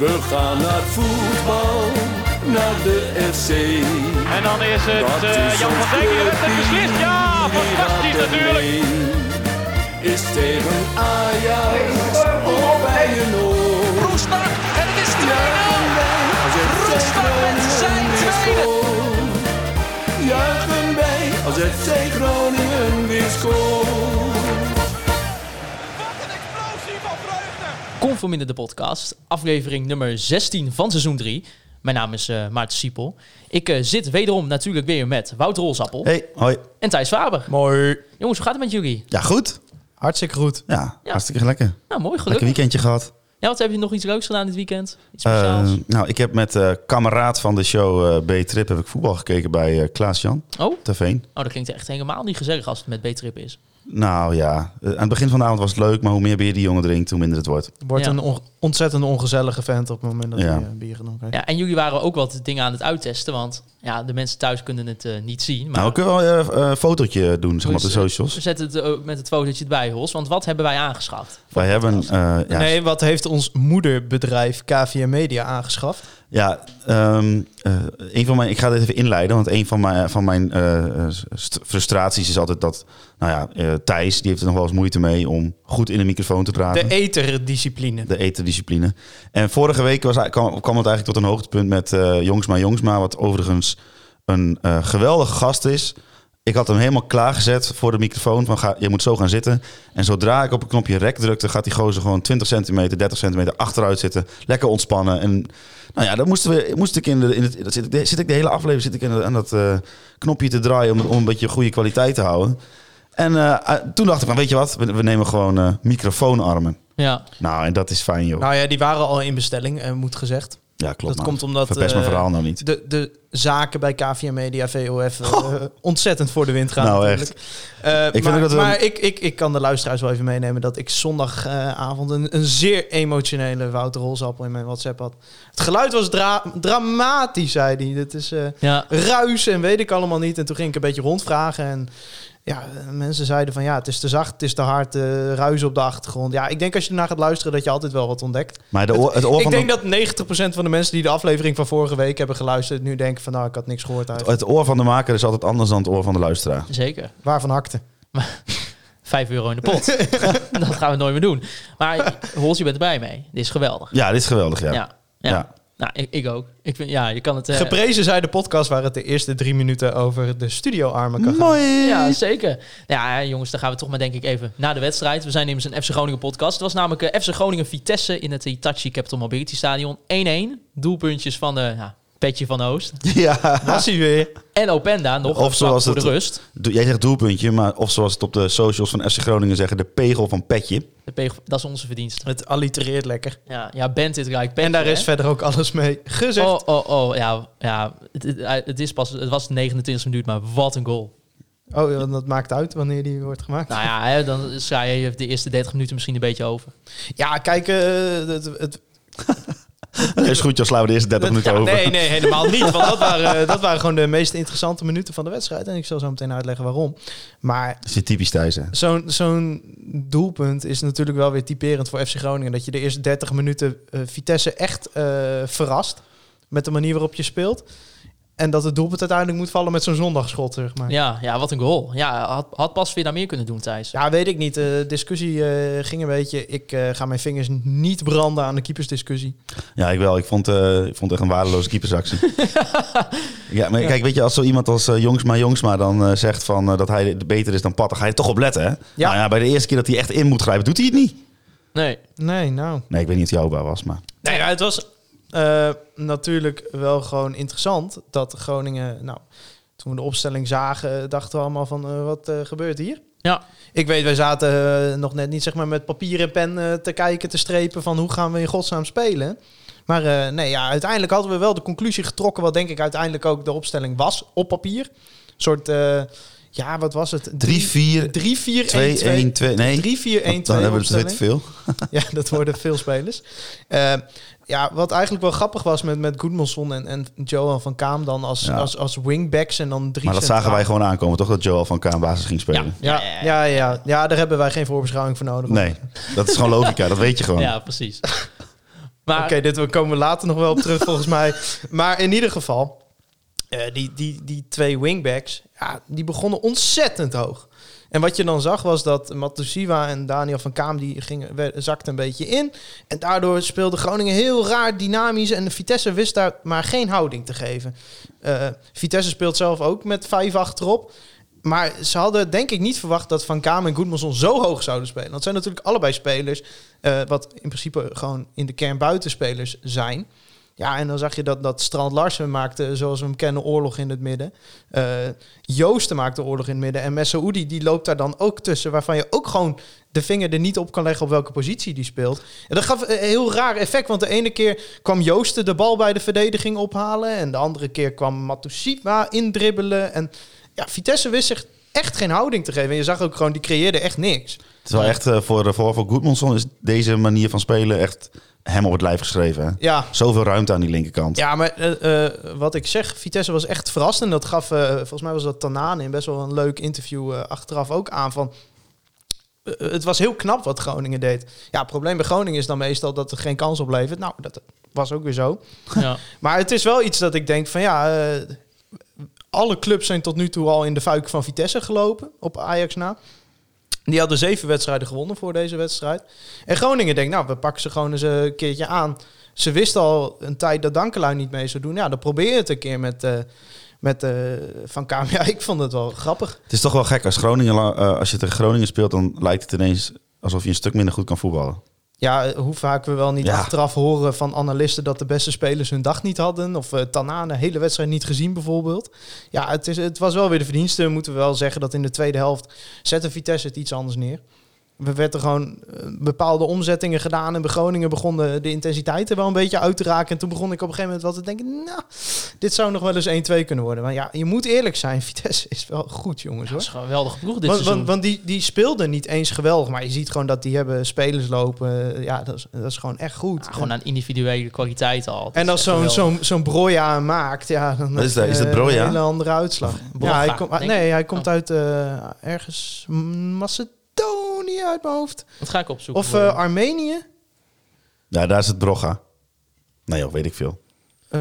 We gaan naar het voetbal, naar de FC. En dan is het eh, Jan van Dijk die de wedstrijd beslist. Ja, fantastisch natuurlijk. Is tegen Ajax of bij een oor. Roestak en het is 2-0. Roestak met zijn tweede. Juichen wij als het FC Groningen weer scoort. Kom voor minder de podcast, aflevering nummer 16 van seizoen 3. Mijn naam is eh, Maarten Siepel. Ik eh, zit wederom natuurlijk weer met Wouter Rolsappel Hey, hoi. en Thijs Faber. Mooi. Jongens, hoe gaat het met jullie? Ja, goed. Hartstikke goed. Ja, Ja. hartstikke lekker. Nou, mooi Lekker gelukkig. weekendje gehad. Ja, wat heb je nog iets leuks gedaan dit weekend? Iets Eh, speciaals? nou, ik heb met eh kameraad van de show eh, B-Trip heb ik voetbal gekeken bij eh, Klaas-Jan oh? oh, Taveen. dat klinkt echt helemaal niet gezellig als het met B-trip is. Nou ja, eh, aan het begin van de avond was het leuk, maar hoe meer bier die jongen drinkt, hoe minder het wordt. Wordt Ja. een on- ontzettend ongezellige vent op het moment dat Ja. hij eh, bier genoeg heeft. Ja, en jullie waren ook wat dingen aan het uittesten, want ja, de mensen thuis kunnen het eh, niet zien. Maar nou, we kunnen wel eh, eh, een fotootje doen, zeg maar, op de socials. zet het eh, met het fotootje erbij, Hols, want wat hebben wij aangeschaft? Wij hebben, eh, ja, Nee, wat heeft ons moederbedrijf KVM Media aangeschaft? ja ehm, eh, een van mijn, ik ga dit even inleiden, want een van mijn, van mijn eh, eh, st- frustraties is altijd dat, nou ja, eh, Thijs, die heeft er nog wel eens moeite mee om goed in de microfoon te praten. De eterdiscipline. Hm. De etendiscipline. En vorige week was, kwam, kwam het eigenlijk tot een hoogtepunt met eh, Jongsma Jongsma. Wat overigens een eh, geweldige gast is. Ik had hem helemaal klaargezet voor de microfoon. Van ga, je moet zo gaan zitten. En zodra ik op het knopje rek drukte, gaat die gozer gewoon 20 centimeter, 30 centimeter achteruit zitten. Lekker ontspannen. En nou ja, dan moesten we, moest ik in de, in het, dat zit, ik- zit ik de hele aflevering zit ik in, de- aan dat eh, knopje te draaien om, om een beetje goede kwaliteit te houden. En eh, eh, toen dacht ik van, weet je wat, we, we nemen gewoon eh, microfoonarmen. Ja, Nou, en dat is fijn, joh. Nou ja, die waren al in bestelling, eh, moet gezegd. ja, klopt. dat maar. komt omdat, Verpest mijn eh, verhaal nou niet. De, de zaken bij KVM Media, VOF, eh, ontzettend voor de wind gaan. Oh. Nou, natuurlijk. Eh, vind maar ook dat we- maar ik, ik, ik kan de luisteraars wel even meenemen dat ik zondagavond een, een zeer emotionele Wouter Holsappel in mijn WhatsApp had. Het geluid was dra- dramatisch, zei hij. Dit is eh, ja. ruis en weet ik allemaal niet. En toen ging ik een beetje rondvragen. En ja, mensen zeiden van ja, het is te zacht, het is te hard, eh ruis op de achtergrond. Ja, ik denk als je ernaar gaat luisteren dat je altijd wel wat ontdekt. Maar de oor, het oor Ik van denk de, dat 90% van de mensen die de aflevering van vorige week hebben geluisterd, nu denken van nou, ik had niks gehoord eigenlijk. het oor van de maker is altijd anders dan het oor van de luisteraar. zeker. Waarvan hakte? Vijf euro in de pot. dat gaan we nooit meer doen. Maar Hols, je bent erbij mee. Dit is geweldig. Ja, dit is geweldig, ja. Ja. Ja, ja. Nou, ik, ik ook. Ik vind, ja, je kan het... eh, Geprezen zij de podcast waar het de eerste drie minuten over de studioarmen kan gaan. ja, zeker. Ja, jongens, dan gaan we toch maar denk ik even na de wedstrijd. We zijn immers een FC Groningen podcast. Het was namelijk eh, FC Groningen Vitesse in het Hitachi Capital Mobility Stadion. 1-1. Doelpuntjes van de ja, Petje van Oost. Was hij weer. En Openda nog. Of zoals voor de het- rust. Doe- Jij zegt doelpuntje, maar of zoals het op de socials van FC Groningen zeggen, de pegel van Petje. De pegel- dat is onze verdienste. Het allitereert lekker. Ja, ja bent dit gelijk. En daar is verder ook alles mee gezegd. Oh, oh, oh. Ja, ja het, het- het is pas, het was 29 minuut, maar wat een goal. Oh, ja, dat maakt uit wanneer die wordt gemaakt. Nou ja, hè, dan sla je de eerste 30 minuten misschien een beetje over. Ja, kijk, eh, het, het, Is goed, dan slaan we de eerste 30 minuten Ja, over. Nee, nee, helemaal niet. Want dat waren, dat waren gewoon de meest interessante minuten van de wedstrijd. En ik zal zo meteen uitleggen waarom. Maar Dat is weer typisch Thijs, hè. zo'n zo'n doelpunt is natuurlijk wel weer typerend voor FC Groningen. Dat je de eerste 30 minuten eh, Vitesse echt eh, verrast met de manier waarop je speelt. En dat het doelpunt uiteindelijk moet vallen met zo'n zondagschot, zeg maar. Ja. Ja, ja wat een goal. Ja, had, had pas weer daar meer kunnen doen, Thijs. weet ik niet. De discussie eh, ging een beetje... Ik eh, ga mijn vingers niet branden aan de keepersdiscussie. Ja, ik wel. Ik vond, eh, ik vond het echt een waardeloze keepersactie. ja, maar kijk, weet je, als zo iemand als eh, Jongsma Jongsma dan eh, zegt van, eh, dat hij beter is dan Pat, dan ga je er toch op letten, hè? Nou ja, bij de eerste keer dat hij echt in moet grijpen, doet hij het niet. Nee. Nee, nou... Nee, ik weet niet of hij houdbaar was, maar... Nee, maar het was eh, natuurlijk wel gewoon interessant dat Groningen. Nou, toen we de opstelling zagen, dachten we allemaal van eh, wat eh, gebeurt hier? Ja. Ik weet, wij zaten eh, nog net niet zeg maar met papier en pen eh, te kijken, te strepen van hoe gaan we in godsnaam spelen. Maar eh, nee, ja, uiteindelijk hadden we wel de conclusie getrokken, wat denk ik uiteindelijk ook de opstelling was op papier. Een soort, eh, ja, wat was het? 3, 4, 3 4 2, 1, 2. Nee, 3 4 1 want dan 2 hebben we er te veel. ja, dat worden veel spelers. Eh, ja, wat eigenlijk wel grappig was met, met Goedmanson en, en Johan van Kaam dan als, Ja. als, als wingbacks en dan drie Maar dat centraal. zagen wij gewoon aankomen, toch? Dat Joel van Kaan basis ging spelen. Ja, ja, ja, ja, daar hebben wij geen voorbeschouwing voor nodig. Nee, dat is gewoon logica, dat weet je gewoon. Ja, precies. Maar Oké, dit dit komen we later nog wel op terug volgens mij. Maar in ieder geval, eh, die, die, die twee wingbacks, ja, die begonnen ontzettend hoog. En wat je dan zag was dat Matusiwa en Daniel van Kaam die gingen, we- zakten een beetje in. En daardoor speelde Groningen heel raar dynamisch. En de Vitesse wist daar maar geen houding te geven. Eh, Vitesse speelt zelf ook met vijf achterop. Maar ze hadden denk ik niet verwacht dat Van Kaam en Goedmanson zo hoog zouden spelen. Dat zijn natuurlijk allebei spelers, eh, wat in principe gewoon in de kern buitenspelers zijn. Ja, en dan zag je dat, dat Strand Larsen maakte, zoals we hem kennen, oorlog in het midden. Eh, Joosten maakte oorlog in het midden. En Messaoudi, die loopt daar dan ook tussen, waarvan je ook gewoon de vinger er niet op kan leggen op welke positie die speelt. En dat gaf een heel raar effect, want de ene keer kwam Joosten de bal bij de verdediging ophalen. En de andere keer kwam Matusiwa indribbelen. En ja, Vitesse wist zich echt geen houding te geven. En je zag ook gewoon, die creëerde echt niks. Het is wel echt eh, voor, voor, voor Goodmanson is deze manier van spelen echt hem op het lijf geschreven. Hè? Ja, Zoveel ruimte aan die linkerkant. ja maar eh, eh, wat ik zeg, Vitesse was echt verrast. En dat gaf, eh, volgens mij was dat Tanane in best wel een leuk interview eh, achteraf ook aan van... eh, het was heel knap wat Groningen deed. Ja, het probleem bij Groningen is dan meestal dat er geen kans op levert. Nou, dat was ook weer zo. ja. Maar het is wel iets dat ik denk van ja, eh, alle clubs zijn tot nu toe al in de fuik van Vitesse gelopen op Ajax na. Die hadden zeven wedstrijden gewonnen voor deze wedstrijd. En Groningen denkt, nou, we pakken ze gewoon eens een keertje aan. Ze wisten al een tijd dat Dankelui niet mee zou doen. Ja, dan probeer je het een keer met, eh, met eh, Van Kamer. Ja, ik vond het wel grappig. Het is toch wel gek als Groningen, la- eh, als je tegen Groningen speelt, dan lijkt het ineens alsof je een stuk minder goed kan voetballen. Ja, eh, hoe vaak we wel niet Ja. achteraf horen van analisten dat de beste spelers hun dag niet hadden. Of eh Tanane hele wedstrijd niet gezien bijvoorbeeld. Ja, het, is, het was wel weer de verdienste. Moeten we wel zeggen dat in de tweede helft zette Vitesse het iets anders neer. We werden gewoon eh, bepaalde omzettingen gedaan. En bij Groningen begon de, de intensiteit er wel een beetje uit te raken. En toen begon ik op een gegeven moment wel te denken, nou, dit zou nog wel eens 1-2 kunnen worden. Maar ja, je moet eerlijk zijn, Vitesse is wel goed jongens hoor. Dat is gewoon een geweldige ploeg dit Want, seizoen. want, want die, die speelden niet eens geweldig. Maar je ziet gewoon dat die hebben spelers lopen. Ja, dat is, dat is gewoon echt goed. Ja, gewoon aan individuele kwaliteit al. Dat en is als echt zo'n geweldig. zo'n zo'n Broja hem maakt, ja, dan Wat is dat? Is eh, dat Broja? een hele andere uitslag. Broja, ja, hij komt- denk nee, ik. hij komt Oh. uit eh, ergens Macedonië uit mijn hoofd. Dat ga ik opzoeken. Of voor eh, je. Armenië. Ja, daar is het Broga. Nee joh, weet ik veel. Eh,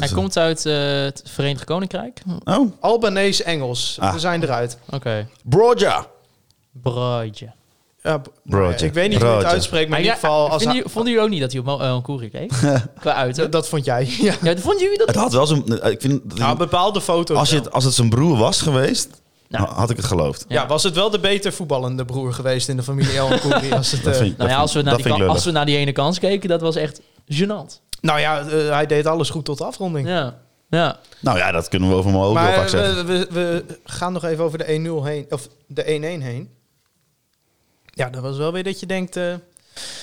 Hij komt uit eh, het Verenigd Koninkrijk. Hm, Oh, Albanees-Engels. Ah. We zijn eruit. Oké. Broja! Braadje. Ja, b- Broja. ik weet niet hoe je het Broja. uitspreekt, maar in ieder geval... Als hij- vonden jullie ook niet dat hij op Mo- eh, Onkuri leek? Qua uiterlijk. dat vond jij. Nou, Ja. Ja, dat- vonden jullie dat? Het had wel zo'n... eh, Ik vind, dat- Nou, bepaalde foto's. als, je wel. het, als het zijn broer was geweest, Nou. had ik het geloofd. Ja, Ja. was het wel de beter voetballende broer geweest in de familie El Nkouri als het, Dat eh, vind ik, Nou ja, dat als we, naar vind- dat die, vind ik kan- als lullig. we naar die ene kans keken, dat was echt gênant. Nou ja, eh, hij deed alles goed tot de afronding. Ja. Ja. Nou ja, dat kunnen we over mijn ook wel maar vaak eh, zeggen. we, we, we gaan nog even over de 1-0 heen, of de 1-1 heen. Ja, dat was wel weer dat je denkt... eh,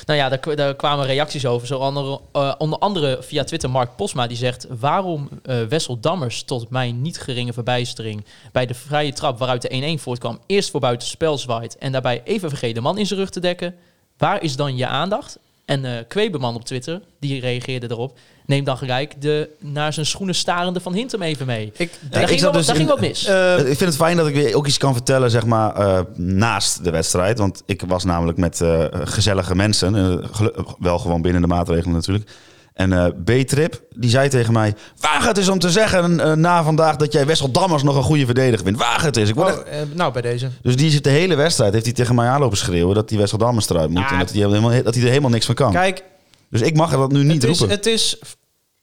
Nou ja, daar, k- daar kwamen reacties over. Zo andere, eh, onder andere via Twitter Mark Posma die zegt... waarom eh, Wessel Dammers tot mijn niet geringe verbijstering... bij de vrije trap waaruit de 1-1 voortkwam... eerst voor buitenspel zwaait... en daarbij even vergeet de man in zijn rug te dekken... waar is dan je aandacht? En eh Kwebeman op Twitter, die reageerde erop... neem dan gelijk de naar zijn schoenen starende Van Hintem even mee. ik, daar ik ging, zat wel, dus daar in- ging wat mis. eh, ik vind het fijn dat ik weer ook iets kan vertellen, zeg maar, eh, naast de wedstrijd. Want ik was namelijk met eh, gezellige mensen, eh, gelu- wel gewoon binnen de maatregelen natuurlijk. En eh, B-Trip, die zei tegen mij... Waag het is om te zeggen eh, na vandaag dat jij Wessel Dammers nog een goede verdediger vindt. Waag het is. Ik word echt- oh, eh, nou, bij deze. Dus die zit de hele wedstrijd, heeft hij tegen mij aanlopen schreeuwen... dat die Wessel Dammers eruit moet Ah, en dat hij, helemaal, dat hij er helemaal niks van kan. Kijk, dus ik mag dat nu niet het is, roepen. het is...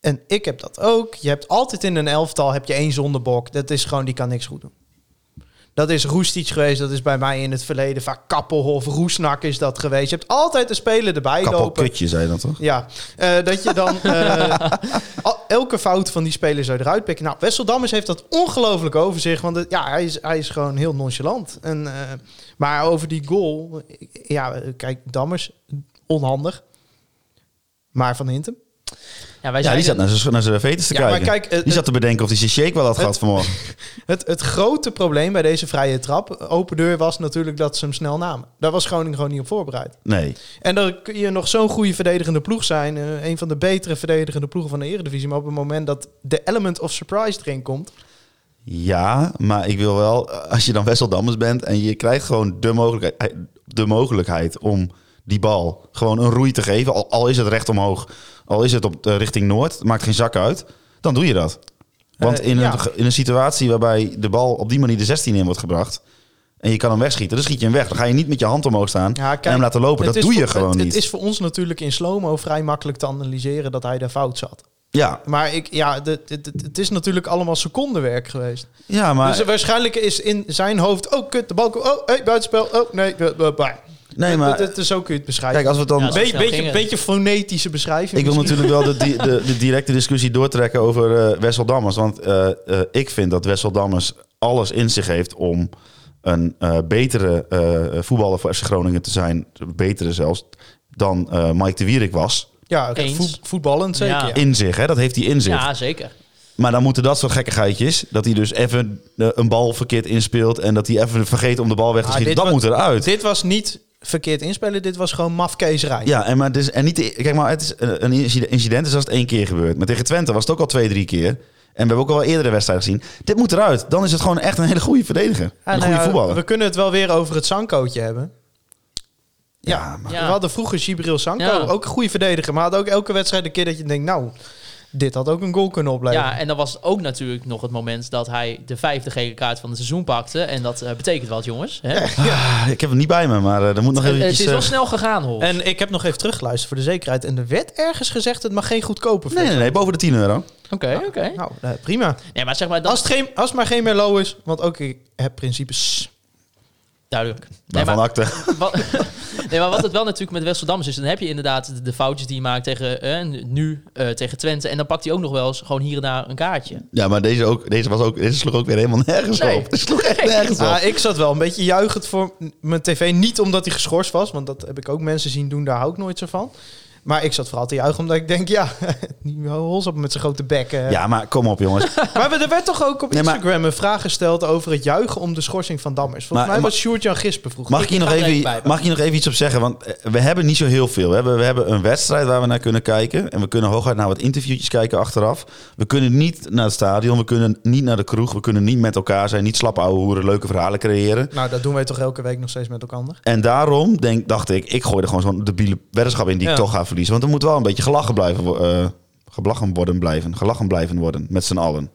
En ik heb dat ook. Je hebt altijd in een elftal heb je één zondebok. Dat is gewoon, die kan niks goed doen. Dat is Roestic geweest. Dat is bij mij in het verleden vaak Kappelhof. Roesnak is dat geweest. Je hebt altijd een speler erbij Kapel lopen. kutje, zei je dat toch? Ja, eh, dat je dan eh, al- elke fout van die speler zou eruit pikken. Nou, Wessel Dammers heeft dat ongelooflijk over zich. Want het- ja, hij, is, hij is gewoon heel nonchalant. En, eh, maar over die goal... eh, Ja, eh, kijk, Dammers, onhandig. Maar Van Hintem? ja, wij Ja, die zeiden- zat naar zijn naar zijn veters te Ja, maar kijken. kijk, eh, die zat te bedenken of hij zijn shake wel had gehad vanmorgen. Het, het grote probleem bij deze vrije trap, open deur, was natuurlijk dat ze hem snel namen. Daar was Groningen gewoon niet op voorbereid. Nee. En dan kun je nog zo'n goede verdedigende ploeg zijn. eh, een van de betere verdedigende ploegen van de Eredivisie. Maar op het moment dat de element of surprise erin komt... Ja, maar ik wil wel, eh, als je dan Wessel Dammers bent en je krijgt gewoon de mogelijkheid, de mogelijkheid om die bal gewoon een roei te geven. Al, al is het recht omhoog, al is het op, eh, richting Noord, het maakt geen zak uit. Dan doe je dat. Want Eh, in, ja. een, ge- in een situatie waarbij de bal op die manier de 16 in wordt gebracht. En je kan hem wegschieten, dan schiet je hem weg. Dan ga je niet met je hand omhoog staan Ja, kijk, en hem laten lopen. Het Dat is doe je voor- gewoon het, niet. Het is voor ons natuurlijk in slow-mo vrij makkelijk te analyseren dat hij daar fout zat. ja. Maar ik, ja, de- de- de- het is natuurlijk allemaal secondenwerk geweest. ja, maar... dus waarschijnlijk is in zijn hoofd... Oh, kut, de bal komt... Oh, hey, buitenspel. Oh, nee. bu- bu- bu- nee, Dat- maar... dat- dat- Zo kun je het beschrijven. Kijk, als we het dan... Ja, zo Be- snel ging beetje, het. beetje fonetische beschrijving. Ik wil misschien. natuurlijk wel de, di- de, de directe discussie doortrekken over eh Wessel Dammers. Want eh, eh, ik vind dat Wessel Dammers alles in zich heeft om een eh, betere eh, voetballer voor FC Groningen te zijn. Betere zelfs dan eh, Mike de Wierik was. Ja, oké, Eens. voet- voetballend zeker. Ja. ja. In zich, hè? dat heeft hij in zich. Ja, zeker. Maar dan moeten dat soort gekkigheidjes, dat hij dus even eh, een bal verkeerd inspeelt en dat hij even vergeet om de bal weg te Ah, schieten, dit dat wa- moet eruit. Dit was niet verkeerd inspelen. Dit was gewoon mafkeeserij. Ja, en, maar het is, en niet, de- kijk maar, het is eh, een een incide- incident is als het één keer gebeurt. Maar tegen Twente was het ook al twee, drie keer. En we hebben ook al wel eerdere wedstrijden gezien. Dit moet eruit. Dan is het gewoon echt een hele goede verdediger. Ja, een nou goede ja, voetballer. We kunnen het wel weer over het Sankootje hebben. Ja, Ja, maar- Ja. we hadden vroeger Gibril Sanko, Ja. ook een goede verdediger. Maar had ook elke wedstrijd een keer dat je denkt, nou, dit had ook een goal kunnen opleveren. Ja, en dan was ook natuurlijk nog het moment dat hij de vijfde gele kaart van het seizoen pakte. En dat eh, betekent wat, jongens. Hè? Eh, Ah, ik heb hem niet bij me, maar eh er moet nog het, het eventjes... is wel eh, snel gegaan, hoor. En ik heb nog even teruggeluisterd voor de zekerheid. En er werd ergens gezegd, het mag geen goedkope nee, nee, vlucht. nee, boven de 10 euro. Oké, oké. Nou, eh, prima. Nee, maar zeg maar, dat Als het, geen, als het maar geen Merlot is, want ook ik heb principes. duidelijk. Nee, Waarvan maar, acte. Wat, nee, maar wat het wel natuurlijk met Wesseldams is, dan heb je inderdaad de, de foutjes die je maakt tegen eh, nu eh, tegen Twente. En dan pakt hij ook nog wel eens gewoon hier en daar een kaartje. Ja, maar deze, ook, deze, was ook, deze sloeg ook weer helemaal nergens Nee. op. Het sloeg echt nergens op. Ah, ik zat wel een beetje juichend voor m- mijn tv. Niet omdat hij geschorst was, want dat heb ik ook mensen zien doen, daar hou ik nooit zo van. Maar ik zat vooral te juichen omdat ik denk, ja, die Holzap met zijn grote bek. eh. Ja, maar kom op jongens. Maar we- er werd toch ook op Nee, maar- Instagram een vraag gesteld over het juichen om de schorsing van Dammers. Volgens Maar- mij maar- was Sjoerd-Jan Gispen vroeger. Mag ik, hier nog ga er even even, bij mag ik hier nog even iets op zeggen? Want eh, we hebben niet zo heel veel. We hebben, we hebben een wedstrijd waar we naar kunnen kijken. En we kunnen hooguit naar wat interviewtjes kijken achteraf. We kunnen niet naar het stadion. We kunnen niet naar de kroeg. We kunnen niet met elkaar zijn. Niet slap ouwe hoeren. Leuke verhalen creëren. Nou, dat doen wij toch elke week nog steeds met elkaar. En daarom denk, dacht ik, ik gooi er gewoon zo'n debiele weddenschap in die Ja. ik toch ga verliezen. Want er moet wel een beetje gelachen blijven, wo- eh, geblachen worden blijven. Gelachen blijven worden, met z'n allen.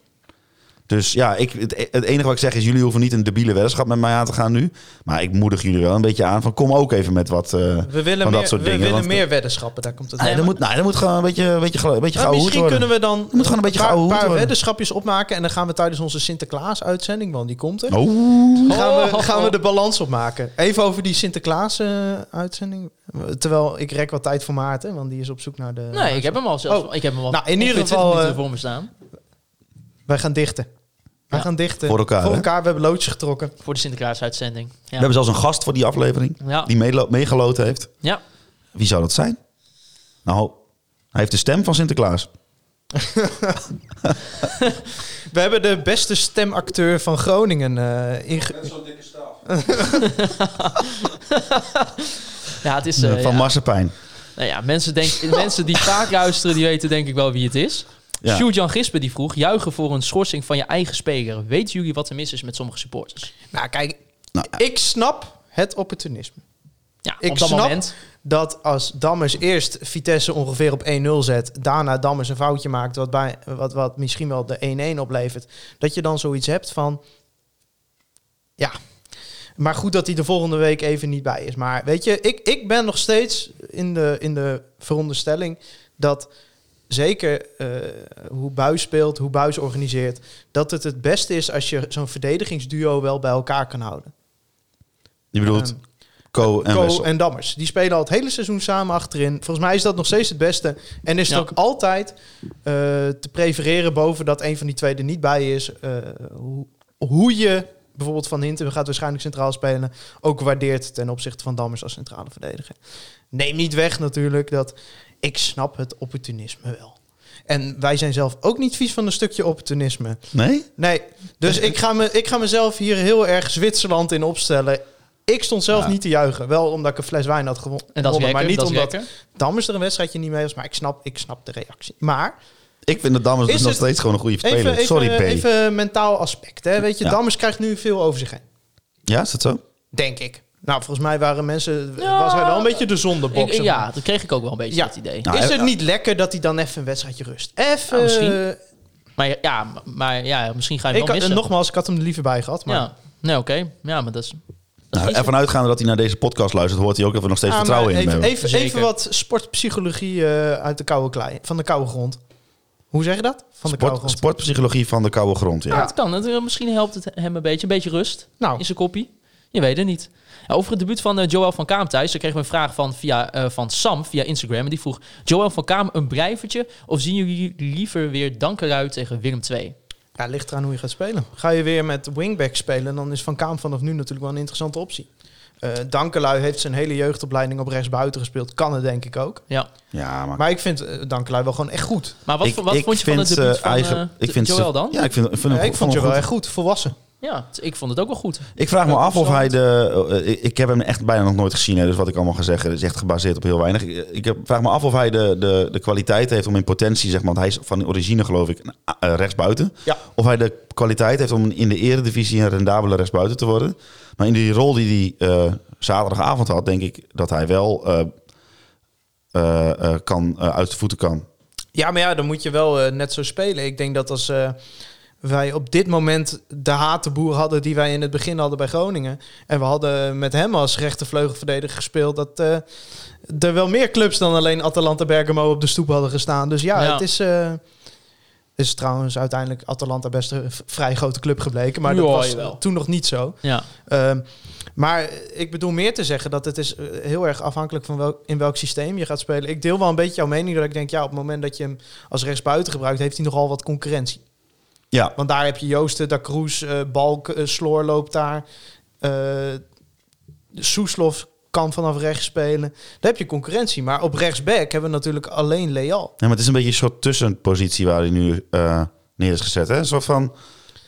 Dus ja, ik, het, het enige wat ik zeg is, jullie hoeven niet een debiele weddenschap met mij aan te gaan nu. Maar ik moedig jullie wel een beetje aan van kom ook even met wat eh, We willen van meer, dat soort we dingen. willen want- eh, meer weddenschappen, daar komt het Nee, aan. er moet, nee, er moet gewoon een beetje, een beetje, gel- een beetje Maar geouwehoerd misschien worden. kunnen we dan moet gewoon een beetje paar, geouwehoerd paar worden. weddenschapjes opmaken. En dan gaan we tijdens onze Sinterklaas-uitzending, want die komt er. Oh. Oeh. gaan, we, Oh. gaan we de balans opmaken. Even over die Sinterklaas-uitzending. Terwijl ik rek wat tijd voor Maarten, want die is op zoek naar de... Nee, ik heb hem al zelfs. Oh. Ik heb hem al. Nou, in ieder ongeveer 20 geval, minuten eh, voor me staan Wij gaan dichten. Wij Ja. gaan dichten. Voor elkaar, Voor hè? elkaar. We hebben loodjes getrokken. voor de Sinterklaas-uitzending. We Ja. hebben zelfs een gast voor die aflevering, Ja. die meelo- meegeloot heeft. ja. Wie zou dat zijn? Nou, hij heeft de stem van Sinterklaas. We hebben de beste stemacteur van Groningen eh inge- ja, het is. eh, van ja. Marsepijn. Nou ja, mensen, denk, mensen die vaak luisteren, die weten denk ik wel wie het is. Ja. Sjoerd-Jan Gispen die vroeg, juichen voor een schorsing van je eigen speler. Weten jullie wat er mis is met sommige supporters? Nou, kijk. Nou, Ik snap het opportunisme. Ja, Ik op dat snap- moment. Dat als Dammers eerst Vitesse ongeveer op 1-0 zet. Daarna Dammers een foutje maakt. Wat, bij, wat, wat misschien wel de 1-1 oplevert. Dat je dan zoiets hebt van. Ja. Maar goed dat hij de volgende week even niet bij is. Maar weet je, ik, ik ben nog steeds in de, in de veronderstelling dat zeker eh, hoe Buis speelt, hoe Buis organiseert, dat het het beste is als je zo'n verdedigingsduo wel bij elkaar kan houden. Je bedoelt Ehm, Co en Co Wessel. en Dammers. Die spelen al het hele seizoen samen achterin. Volgens mij is dat nog steeds het beste. En is het Ja. ook altijd eh, te prefereren boven dat een van die twee er niet bij is. Eh, hoe, hoe je bijvoorbeeld Van Hintem gaat waarschijnlijk centraal spelen. Ook waardeert ten opzichte van Dammers als centrale verdediger. Neem niet weg natuurlijk dat ik snap het opportunisme wel. En wij zijn zelf ook niet vies van een stukje opportunisme. Nee? Nee, dus ik ga, me, ik ga mezelf hier heel erg Zwitserland in opstellen. Ik stond zelf Ja. niet te juichen. Wel omdat ik een fles wijn had gewo- gewonnen. En dat is maar lekker, niet dat is omdat lekker. Dammers er een wedstrijdje niet mee was. Maar ik snap, ik snap de reactie. Maar Ik vind dat Dammers Is dus nog het- steeds gewoon een goede even, speler. even, Sorry, P. even mentaal aspect. Hè? Weet je, Ja. Dammers krijgt nu veel over zich heen. Ja, is dat zo? Denk ik. Nou, volgens mij waren mensen... Ja. was hij wel een beetje de zondebok. Ik- zeg maar. ja, dat kreeg ik ook wel een beetje, Ja. dat idee. Nou, is hij- het niet lekker dat hij dan even een wedstrijdje rust? Even... Nou, misschien. eh, Maar ja, maar, ja misschien ga je hem ik wel had, en missen. nogmaals, ik had hem er liever bij gehad. Maar, Ja, nee, oké. Ja, maar dat is... dat Nou, is- ervan uitgaande dat hij naar deze podcast luistert, hoort hij ook dat we nog steeds Ah, maar vertrouwen in hem even, hebben. even, Zeker. even wat sportpsychologie eh, uit de koude klei, van de koude grond. Hoe zeg je dat? Van de koude Sport, grond. sportpsychologie van de koude grond, ja. Ja, het kan. Het, eh, misschien helpt het hem een beetje. Een beetje rust Nou. in zijn koppie. Je weet het niet. Ja, over het debuut van eh, Joël van Kaam thuis. Daar kregen we een vraag van, via, eh, van Sam via Instagram. En die vroeg... Joël van Kaam, een blijvertje? Of zien jullie liever weer Dankeruit tegen Willem II? Ja, ligt eraan hoe je gaat spelen. Ga je weer met wingback spelen, dan is Van Kaam vanaf nu natuurlijk wel een interessante optie. Eh Dankelui heeft zijn hele jeugdopleiding op rechtsbuiten gespeeld. Kan het denk ik ook. Ja. Ja, maar... Maar ik vind eh, Dankelui wel gewoon echt goed. Maar wat, ik, vo- wat ik vond je van het vind, debuut eh, van eigen- eh, ik vind ze- Joël dan? Ja, ik vind, ik vind Ja, hem Eh, ik vond je hem wel goed. echt goed, volwassen. Ja, t- ik vond het ook wel goed. Ik vraag me Ja, af of constant. hij de. eh, ik- ik heb hem echt bijna nog nooit gezien, hè, dus wat ik allemaal ga zeggen is echt gebaseerd op heel weinig. Ik, ik heb, vraag me af of hij de, de, de kwaliteit heeft om in potentie, zeg maar, want hij is van origine, geloof ik, een a- eh, rechtsbuiten. Ja. Of hij de kwaliteit heeft om in de eredivisie een rendabele rechtsbuiten te worden. Maar in die rol die hij eh, zaterdagavond had, denk ik dat hij wel eh, eh, eh, kan, eh, uit de voeten kan. Ja, maar ja, dan moet je wel eh, net zo spelen. Ik denk dat als eh, wij op dit moment de hatenboer hadden die wij in het begin hadden bij Groningen. En we hadden met hem als rechtervleugelverdediger gespeeld. Dat eh, er wel meer clubs dan alleen Atalanta Bergamo op de stoep hadden gestaan. Dus ja, Ja. het is... eh, is trouwens uiteindelijk Atalanta best een v- vrij grote club gebleken. Maar dat Ja, was jawel. toen nog niet zo. Ja. Ehm, maar ik bedoel meer te zeggen dat het is eh, heel erg afhankelijk van welk, in welk systeem je gaat spelen. Ik deel wel een beetje jouw mening dat ik denk, ja, op het moment dat je hem als rechtsbuiten gebruikt, heeft hij nogal wat concurrentie. Ja, Want daar heb je Joosten, Da Cruz, eh, Balk, eh, Sloor loopt daar. eh Soeslof kan vanaf rechts spelen. Daar heb je concurrentie. Maar op rechtsback hebben we natuurlijk alleen Leal. Ja, maar het is een beetje een soort tussenpositie waar hij nu eh, neer is gezet. Hè? Een soort van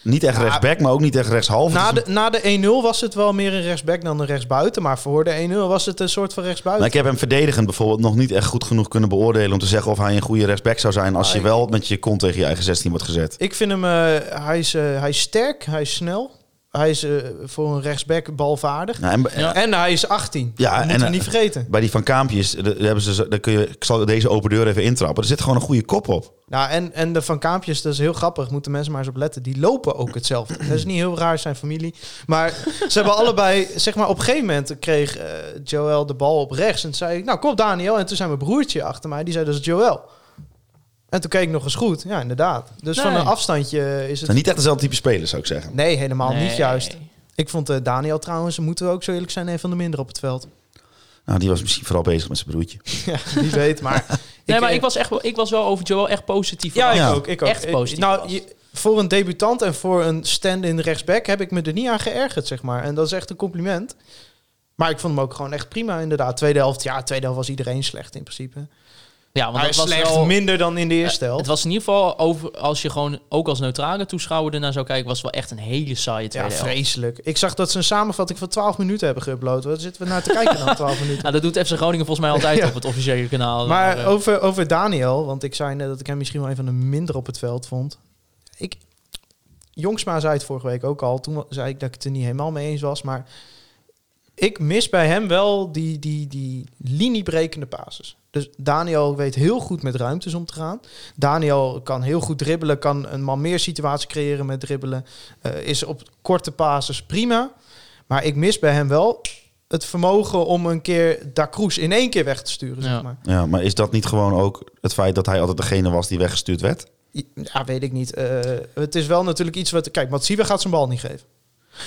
niet echt Ja. rechtsback, maar ook niet echt rechtshalve. Na Het is de, na de 1-0 was het wel meer een rechtsback dan een rechtsbuiten. Maar voor de 1-0 was het een soort van rechtsbuiten. Maar ik heb hem verdedigend bijvoorbeeld nog niet echt goed genoeg kunnen beoordelen om te zeggen of hij een goede rechtsback zou zijn als je wel met je kont tegen je eigen 16 wordt gezet. Ik vind hem, eh, hij, is, eh, hij is sterk, hij is snel. Hij is eh, voor een rechtsback balvaardig. Nou, en, b- Ja. En hij is 18. Ja, Ja, dat en, moeten we eh, niet vergeten. Bij die van Kaampjes, eh, daar hebben ze, zo- daar kun je, ik zal deze open deur even intrappen. Er zit gewoon een goede kop op. Nou, en, en de Van Kaampjes, dat is heel grappig. Moeten mensen maar eens op letten. Die lopen ook hetzelfde. dat is niet heel raar, zijn familie. Maar ze hebben allebei... Zeg maar, op een gegeven moment kreeg eh Joël de bal op rechts. En toen zei ik, nou kom Daniel. En toen zei mijn broertje achter mij, die zei, dat is Joël. En toen keek ik nog eens goed. Ja, inderdaad. Dus van Nee. een afstandje eh, is Het het... zijn niet echt dezelfde type spelers, zou ik zeggen. Nee, helemaal Nee. niet juist. Ik vond eh, Daniel trouwens, moeten we ook zo eerlijk zijn, een van de minder op het veld. Nou, die was misschien vooral bezig met zijn broertje. Ja, wie weet, maar... eh, Nee, maar ik was, echt, wel- ik was wel over Joël echt positief. Ja, ik Ja. ook. Ik ook. Echt Ik- positief nou, was. je- voor een debutant en voor een stand-in rechtsback heb ik me er niet aan geërgerd, zeg maar. En dat is echt een compliment. Maar ik vond hem ook gewoon echt prima, inderdaad. Tweede helft, ja, tweede helft was iedereen slecht in principe. ja want Hij dat was slecht, wel... minder dan in de eerste Het helft. was in ieder geval, over, als je gewoon ook als neutrale toeschouwer ernaar zou kijken, was het wel echt een hele saaie Ja, tweede helft. vreselijk. Ik zag dat ze een samenvatting van 12 minuten hebben geüpload. Wat zitten we naar te kijken dan, 12 minuten? Nou, dat doet FC Groningen volgens mij altijd Ja. op het officiële kanaal. Maar eh, over, over Daniel, want ik zei net dat ik hem misschien wel een van de minder op het veld vond. Ik, Jongsma zei het vorige week ook al. Toen zei ik dat ik het er niet helemaal mee eens was. Maar ik mis bij hem wel die, die, die liniebrekende pases. Dus Daniel weet heel goed met ruimtes om te gaan. Daniel kan heel goed dribbelen, kan een man meer situatie creëren met dribbelen. Eh, is op korte pases prima. Maar ik mis bij hem wel het vermogen om een keer Da Cruz in één keer weg te sturen. Ja. Zeg maar. Ja, maar is dat niet gewoon ook het feit dat hij altijd degene was die weggestuurd werd? Ja, weet ik niet. Eh, het is wel natuurlijk iets wat... Kijk, Matsiwa gaat zijn bal niet geven.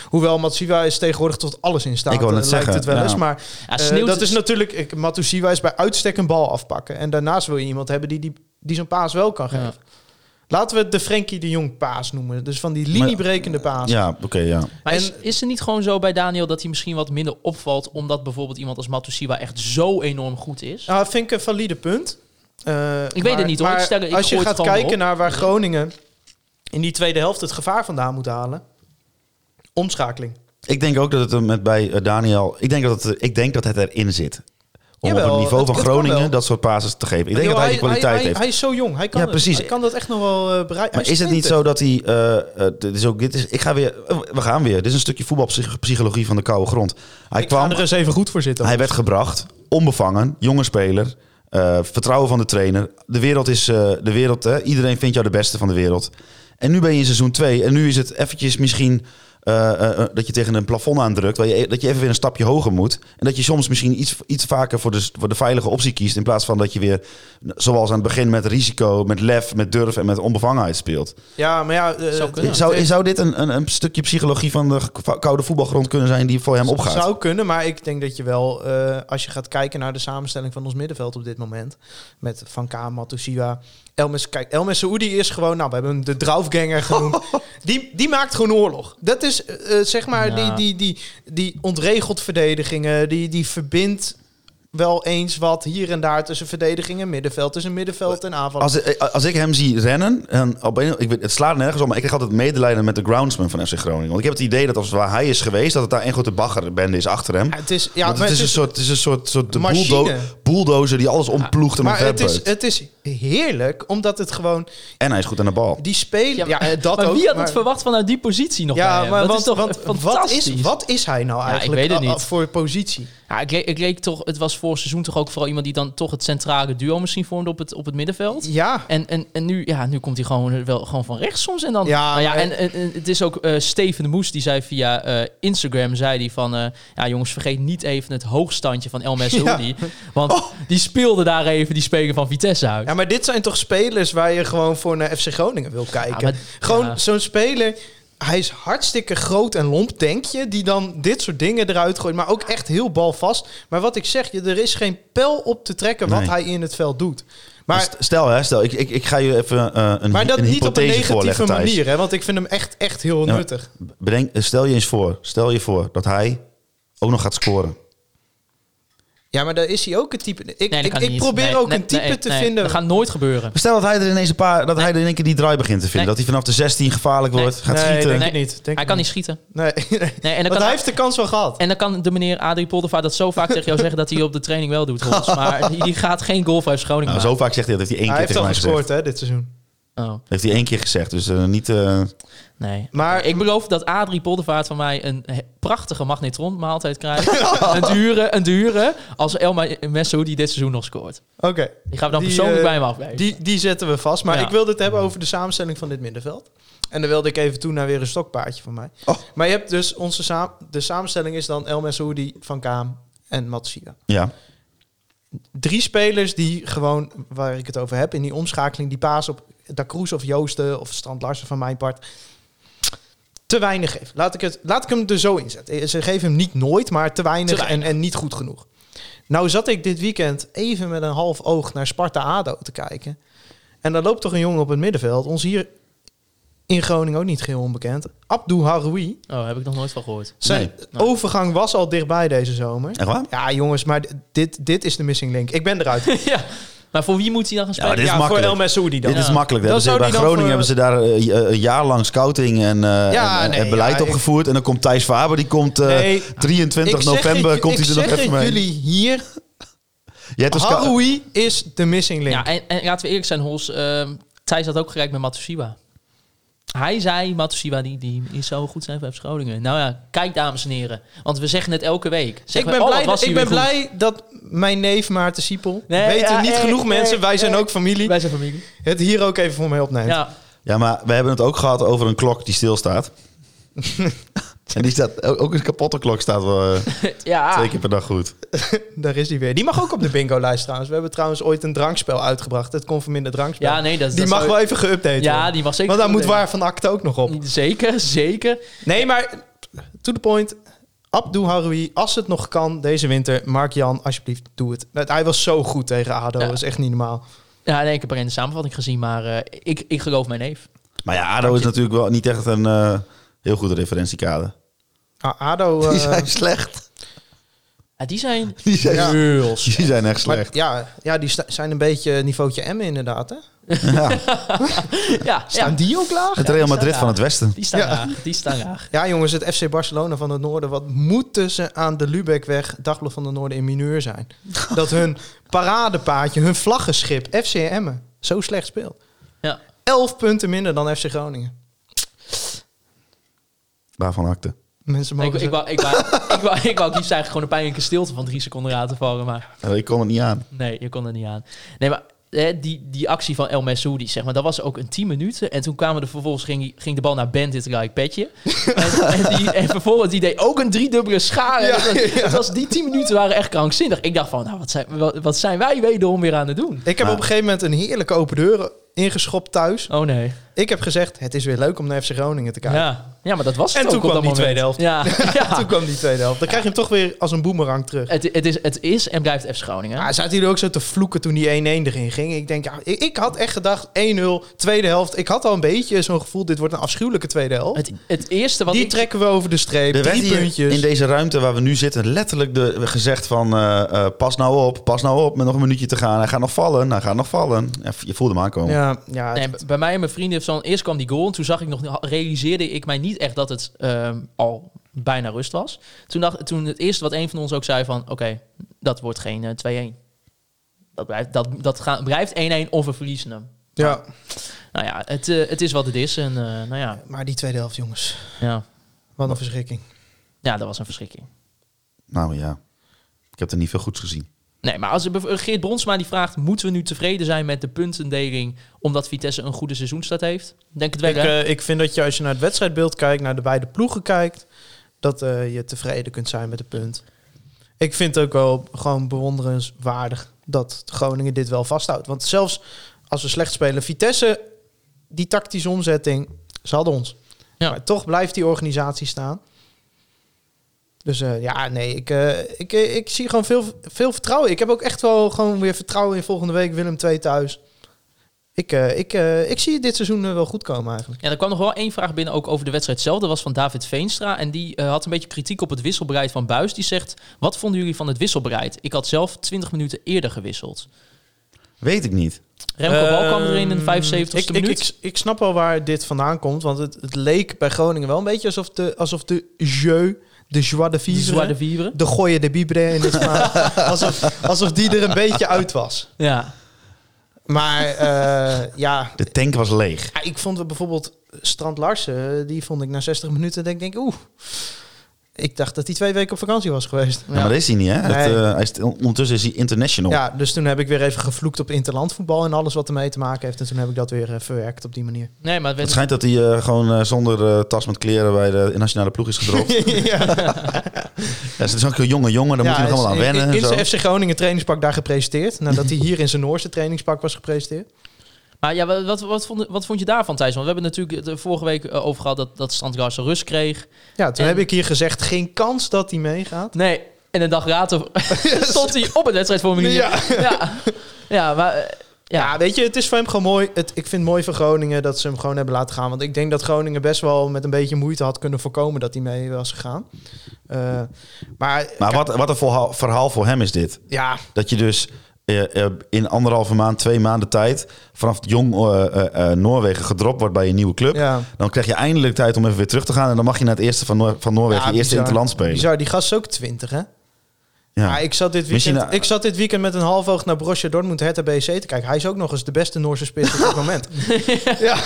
Hoewel Matsiwa is tegenwoordig tot alles in staat. Ik wou net eh, zeggen, Lijkt het wel eens, ja. maar ja, eh, Sneeuwt- dat is natuurlijk... ik- Matusiwa is bij uitstek een bal afpakken. En daarnaast wil je iemand hebben die, die, die zo'n paas wel kan Ja. geven. Laten we het de Frenkie de Jong paas noemen. Dus van die liniebrekende paas. Ja, oké, ja. Maar is, en- is er niet gewoon zo bij Daniel dat hij misschien wat minder opvalt, omdat bijvoorbeeld iemand als Matusiwa echt zo enorm goed is? Nou, vind ik een valide punt. Eh, Ik weet het niet, hoor. maar Ik stel- ik als je gooi het gaat gewoon kijken erop. naar waar Groningen in die tweede helft het gevaar vandaan moet halen. Omschakeling. Ik denk ook dat het er met bij eh, Daniel. Ik denk dat het, er- ik denk dat het erin zit. Om op Jawel, het niveau het- van het kan wel. Groningen dat soort passes te geven. Ik denk Joh, dat hij die kwaliteit hij, heeft. Hij is zo jong. Hij kan, Ja, ja, precies. precies. Hij kan dat echt nog wel eh, bereiken. Maar Hij is het niet 20. zo dat hij... eh, eh, dit is ook, dit is, ik ga weer, we gaan weer. Dit is een stukje voetbalpsychologie van de koude grond. Hij Ik kwam, ga er eens even goed voor zitten. hij werd gebracht, onbevangen, jonge speler. eh, vertrouwen van de trainer. De wereld is eh, de wereld. Hè? Iedereen vindt jou de beste van de wereld. En nu ben je in seizoen 2. En nu is het eventjes misschien eh, eh, eh, dat je tegen een plafond aandrukt. Dat je, e-, dat je even weer een stapje hoger moet. En dat je soms misschien iets, iets vaker voor de, voor de veilige optie kiest. In plaats van dat je weer, zoals aan het begin, met risico, met lef, met durf en met onbevangenheid speelt. Ja, maar ja, eh, Zou kunnen. Ja. Zou, zou dit een, een, een stukje psychologie van de k- koude voetbalgrond kunnen zijn die voor hem opgaat? zou kunnen, maar ik denk dat je wel, eh, als je gaat kijken naar de samenstelling van ons middenveld op dit moment, met Van Kaam, Matusiwa, Elmes, kijk, Elmes Saoudi is gewoon, nou, we hebben hem de draufganger genoemd. die, die maakt gewoon oorlog. Dat is, eh, eh, zeg maar, Ja. die, die, die, die ontregelt verdedigingen, die, die verbindt wel eens wat hier en daar tussen verdediging en middenveld, tussen middenveld en aanval. Als, ik- als ik hem zie rennen, en op een, ik weet, het slaat nergens om, maar ik krijg altijd medelijden met de groundsman van FC Groningen. Want ik heb het idee dat als waar hij is geweest, dat het daar een grote baggerbende is achter hem. Ja, het is, ja, Want maar het, is een soort, het is een soort, soort de Machine. Ah, bulldo- bulldozer die alles omploegt en maar het omverbeukt. is, het is heerlijk, omdat het gewoon... En hij is goed aan de bal. Dus Die spelen... Ja, maar- eh, dat maar ook, wie had maar- het verwacht vanuit die positie nog bij Ja, hem? maar dat wat, is toch want, wat, fantastisch. is, wat is hij nou ik eigenlijk weet het a- a- niet. voor positie? Ja, ik, le- ik leek toch, het was vorig seizoen toch ook vooral iemand die dan toch het centrale duo misschien vormde op het, op het middenveld. Ja, En, en, en nu, ja, nu komt hij gewoon, wel, gewoon van rechts soms. En dan, Ja, nou ja, maar- en, en, en het is ook eh, Steven de Moes, die zei via eh, Instagram, zei die van... eh, ja jongens, vergeet niet even het hoogstandje van El Messoudi. Want die speelde daar even die speler van Vitesse uit. Oh. ja, maar dit zijn toch spelers waar je gewoon voor naar FC Groningen wil kijken. Ja, maar- gewoon ja. zo'n speler, hij is hartstikke groot en lomp, denk je, die dan dit soort dingen eruit gooit, maar ook echt heel balvast. Maar wat ik zeg, je, er is geen pijl op te trekken wat Nee. hij in het veld doet. Maar, Maar, stel, hè, stel ik, ik, ik ga je even eh, een, maar dat een niet op een hypothese negatieve voorleggen, Thijs. manier, hè, want ik vind hem echt, echt heel Ja, nuttig. Bedenk, eh, stel je eens voor, stel je voor dat hij ook nog gaat scoren. Ja, maar daar is hij ook een type. Ik, Nee, dat ik, kan ik niet. probeer Nee, ook nee, een type nee, te nee, vinden. Dat gaat nooit gebeuren. Stel dat hij er ineens een paar, dat hij er in één keer die draai begint te vinden. Nee. Dat hij vanaf de 16 gevaarlijk wordt, Nee. gaat nee, schieten. denk Nee. ik niet. Denk Hij ik kan niet schieten. Nee, Nee, en dan Want kan hij hij- heeft de kans wel gehad. En dan kan de meneer Adrie Poldervaart dat zo vaak tegen jou zeggen... dat hij op de training wel doet, Roels. Maar die, die gaat geen goal voor FC Groningen Nou, zo vaak zegt hij dat, heeft hij één hij keer heeft tegen al mij gezegd. gescoord hè, dit seizoen. maken. Oh. Heeft hij één keer gezegd, dus eh, niet... eh, Nee. Maar- Maar ik beloof dat Adrie Poldervaart van mij een he- prachtige magnetron maaltijd krijgt. een dure, een dure. Als Elma Messo die dit seizoen nog scoort. Oké, Die gaan we dan Die, persoonlijk eh, bij hem afgeven. die, die zetten we vast. Maar Ja. ik wilde het hebben over de samenstelling van dit middenveld. En dan wilde ik even toe naar weer een stokpaardje van mij. Oh. Maar je hebt dus onze saam- de samenstelling is dan El Messoudi, Van Kaam en Matsia. ja, Drie spelers die gewoon, waar ik het over heb, in die omschakeling, die paas op Da Cruz of Joosten of Strand Larsen van mijn part, te weinig geven. Laat ik, het, laat ik hem er zo inzetten. Ze geven hem niet nooit, maar te weinig, Te weinig. En, en niet goed genoeg. Nou zat ik dit weekend even met een half oog naar Sparta-ADO te kijken. En daar loopt toch een jongen op het middenveld, ons hier in Groningen ook niet geheel onbekend, Abdou Haroui. Oh, heb ik nog nooit van gehoord. Zijn overgang was al dichtbij deze zomer. echt waar? Ja, jongens, maar d- dit, dit is de missing link. Ik ben eruit. ja. Maar voor wie moet hij dan gaan Ja, maar spelen? dit is ja, voor makkelijk. El Messoudi dan. Dit is Ja. makkelijk. Dat Dan hebben ze, bij zou die dan Groningen hebben ze voor- daar eh, eh, een jaar lang scouting en, eh, Ja, en- en nee, beleid ja, op gevoerd. En dan komt Thijs Faber, die komt eh, Nee, 23 Ik zeg november het- komt ik hij er nog zeg even het mee. jullie hier, Jij hebt een scout- Haroui is de missing link. Ja, en, en laten we eerlijk zijn, Hols. ehm Thijs had ook gelijk met Matosiwa. Hij zei, Matosiwa die, die is zo goed zijn voor FC Groningen. Nou ja, kijk dames en heren. Want we zeggen het elke week. ik Zeggen ben, we, oh, blij, wat was ik hij ben weer goed. blij dat mijn neef Maarten Siepel, Nee, weten ja, niet eh, genoeg eh, mensen, wij zijn eh, ook familie, Wij zijn familie. het hier ook even voor mij opneemt. Ja. Ja, maar we hebben het ook gehad over een klok die stilstaat. en die staat, ook ook een kapotte klok staat wel eh, Ah. ja. twee keer per dag goed. Daar is die weer. Die mag ook op de bingo-lijst trouwens. We hebben trouwens ooit een drankspel uitgebracht, het conforminder drankspel. Ja, nee, dat die dat mag zou- wel even geüpdate Ja, worden. die mag zeker. Want daar moet goed waar van acte ook nog op. zijn. Zeker, zeker. Nee, maar to the point. Abdou Haroui, als het nog kan deze winter, Mark Jan, alsjeblieft, doe het. Nou, Hij was zo goed tegen ADO, Ja. dat is echt niet normaal. Ja, nee, ik heb alleen de samenvatting gezien, maar eh, ik, ik geloof mijn neef. Maar ja, ADO is natuurlijk wel niet echt een eh, heel goed referentiekader. Ah, ADO... eh, Die zijn slecht. Ja, die zijn Die zijn, heel slecht. die zijn echt maar slecht. ja, ja, die sta- zijn een beetje niveautje M inderdaad, hè? ja, Staan ja, die ook laag? Het Real die Madrid staan van het Westen. die staan Ja. laag. Die staan laag. Ja, jongens, het FC Barcelona van het Noorden. Wat moeten ze aan de Lubeckweg, Dagblad van het Noorden in mineur zijn? Dat hun paradepaadje, hun vlaggenschip, FC Emmen, zo slecht speelt. Ja. Elf punten minder dan FC Groningen. Waarvan akte. Mensen mogen Ik, ik, ze- wou, ik, wou, ik, wou, ik wou liefst eigenlijk gewoon een pijnlijke stilte van drie seconden laten vallen. Maar Eh, Ik kom het niet aan. Nee, je kon er niet aan. Nee, maar hè, die, die actie van El Messoudi, zeg maar, dat was ook een 10 minuten. En toen kwamen er vervolgens, ging, ging de bal naar Bandit Like Petje. en, en, die, en vervolgens, die deed ook een driedubbele schade. Ja, Het was- het was, die 10 minuten waren echt krankzinnig. Ik dacht van, nou, wat zijn, wat, wat zijn wij wederom weer aan het doen? ik heb op een gegeven moment een heerlijke open deur ingeschopt thuis. Oh nee. Ik heb gezegd, het is weer leuk om naar FC Groningen te kijken. Ja, ja maar dat was het En ook toen op kwam dat die moment. Ja, ja. Toen kwam die tweede helft. Dan krijg je hem toch weer als een boemerang terug. Het, het, is, het is en blijft FC Groningen. Ja, zaten jullie ook zo te vloeken toen die 1-1 erin ging? Ik denk, ja, ik, ik had echt gedacht 1-0, tweede helft. Ik had al een beetje zo'n gevoel, dit wordt een afschuwelijke tweede helft. het, het eerste wat die ik... trekken we over de streep, Er werd drie hier puntjes. in deze ruimte waar we nu zitten letterlijk de, gezegd van... eh, eh, pas nou op, pas nou op, met nog een minuutje te gaan. Hij gaat nog vallen, hij gaat nog vallen. Ja, je voelde hem aankomen. ja, ja, Nee, bij mij en mijn vrienden heeft zo'n eerst kwam die goal en toen zag ik nog realiseerde ik mij niet echt dat het ehm, al bijna rust was. Toen dacht toen het eerste wat een van ons ook zei van oké, dat wordt geen eh, 2-1. Dat blijft dat dat gaan, blijft 1-1 of we verliezen hem. ja, Nou ja, het, eh, het is wat het is en eh, nou ja, maar die tweede helft, jongens. ja. Wat een verschrikking. Ja, dat was een verschrikking. Nou ja, ik heb er niet veel goeds gezien. Nee, maar als eh, Geert Bronsma die vraagt, moeten we nu tevreden zijn met de puntendeling omdat Vitesse een goede seizoenstart heeft? Denk het wel. Ik, hè? eh, ik vind dat je als je naar het wedstrijdbeeld kijkt, naar de beide ploegen kijkt, dat eh, je tevreden kunt zijn met de punt. Ik vind het ook wel gewoon bewonderenswaardig dat Groningen dit wel vasthoudt. Want zelfs als we slecht spelen, Vitesse, die tactische omzetting, ze hadden ons. Ja. Maar toch blijft die organisatie staan. Dus eh, ja, nee, ik, eh, ik, eh, ik zie gewoon veel, veel vertrouwen. Ik heb ook echt wel gewoon weer vertrouwen in volgende week Willem II thuis. Ik, eh, ik, eh, ik zie dit seizoen eh, wel goed komen eigenlijk. Ja, er kwam nog wel één vraag binnen ook over de wedstrijd zelf. Dat was van David Veenstra. En die eh, had een beetje kritiek op het wisselbereid van Buis. Die zegt, wat vonden jullie van het wisselbereid? Ik had zelf 20 minuten eerder gewisseld. Weet ik niet. Remco Bal kwam erin in de Ehm, 75ste ik, ik, minuut. ik, ik snap wel waar dit vandaan komt. Want het, het leek bij Groningen wel een beetje alsof de, alsof de jeu, de joie de Die Zwaar de vivre, Vivre. de gooie de bibre in dit Spaans, alsof, alsof die er een beetje uit was. Ja. Maar eh, ja, De tank was leeg. ik vond het bijvoorbeeld Strand Larsen, die vond ik na 60 minuten denk ik, oeh. Ik dacht dat hij twee weken op vakantie was geweest. Ja, maar dat is hij niet, hè? Dat, Nee. eh, hij is, ondertussen is hij international. Ja, dus toen heb ik weer even gevloekt op interlandvoetbal en alles wat ermee te maken heeft. En toen heb ik dat weer eh, verwerkt op die manier. Nee, maar het Het werd- schijnt dat hij eh, gewoon eh, zonder eh, tas met kleren bij de nationale ploeg is gedropt. ja, ze is ook een jonge jongen, daar moet je nog hij allemaal aan is wennen. In, in en zo. zijn FC Groningen trainingspak daar gepresenteerd. Nadat hij hier in zijn Noorse trainingspak was gepresenteerd. Maar ja, wat, wat, wat, vond, wat vond je daarvan, Thijs? Want we hebben het natuurlijk de vorige week eh, over gehad dat, dat Strandgars rust kreeg. Ja, toen En- heb ik hier gezegd, geen kans dat hij meegaat. Nee, en een dag later stond hij op het wedstrijdformulier. Ja. ja. Ja, maar... eh, Ja. ja. weet je, het is voor hem gewoon mooi. Het, ik vind het mooi van Groningen dat ze hem gewoon hebben laten gaan. Want ik denk dat Groningen best wel met een beetje moeite had kunnen voorkomen dat hij mee was gegaan. Eh, maar Maar wat, wat een verhaal, verhaal voor hem is dit. ja, Dat je dus eh, eh, in anderhalve maand, twee maanden tijd... vanaf jong eh, eh, eh, Noorwegen gedropt wordt bij een nieuwe club. ja. Dan krijg je eindelijk tijd om even weer terug te gaan. En dan mag je naar het eerste van, Noor- van Noorwegen, Ja, je eerste bizar. interland spelen. Bizar, die gast is ook twintig, hè? Ja. Ja. ik, zat dit Misschien, weekend, eh, ik zat dit weekend met een half oog naar Borussia Dortmund, Hertha BSC te kijken. Hij is ook nog eens de beste Noorse spits op dit moment. ja.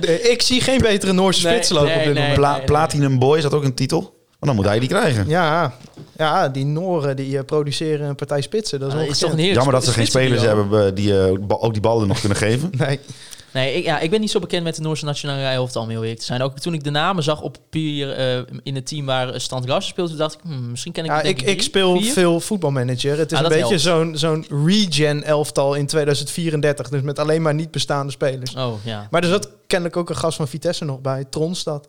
Nee, ik zie geen betere Noorse Nee, spits lopen nee, op dit nee. moment. Pla- nee. Platinum Boy, is dat ook een titel? Maar dan moet hij die krijgen. Ja, ja, die Nooren die eh, produceren een partij spitsen. Dat is, Ah, is toch ongekend. een heerlijk Jammer dat ze geen spitsenduo. spelers hebben eh, die eh, ba- ook die ballen nog kunnen geven. Nee. Nee, ik, ja, ik ben niet zo bekend met de Noorse nationale rijhoofd om heel eerlijk te zijn. Ook toen ik de namen zag op papier eh, in het team waar eh, Stand Larsen speelde, dacht ik, hmm, misschien ken ik Ja, het, denk ik, drie, ik speel vier. veel voetbalmanager. Het is Ah, een dat beetje zo'n zo'n regen elftal in 2034. Dus met alleen maar niet bestaande spelers. Oh, ja. Maar er zat kennelijk ook een gast van Vitesse nog bij, Tronstad.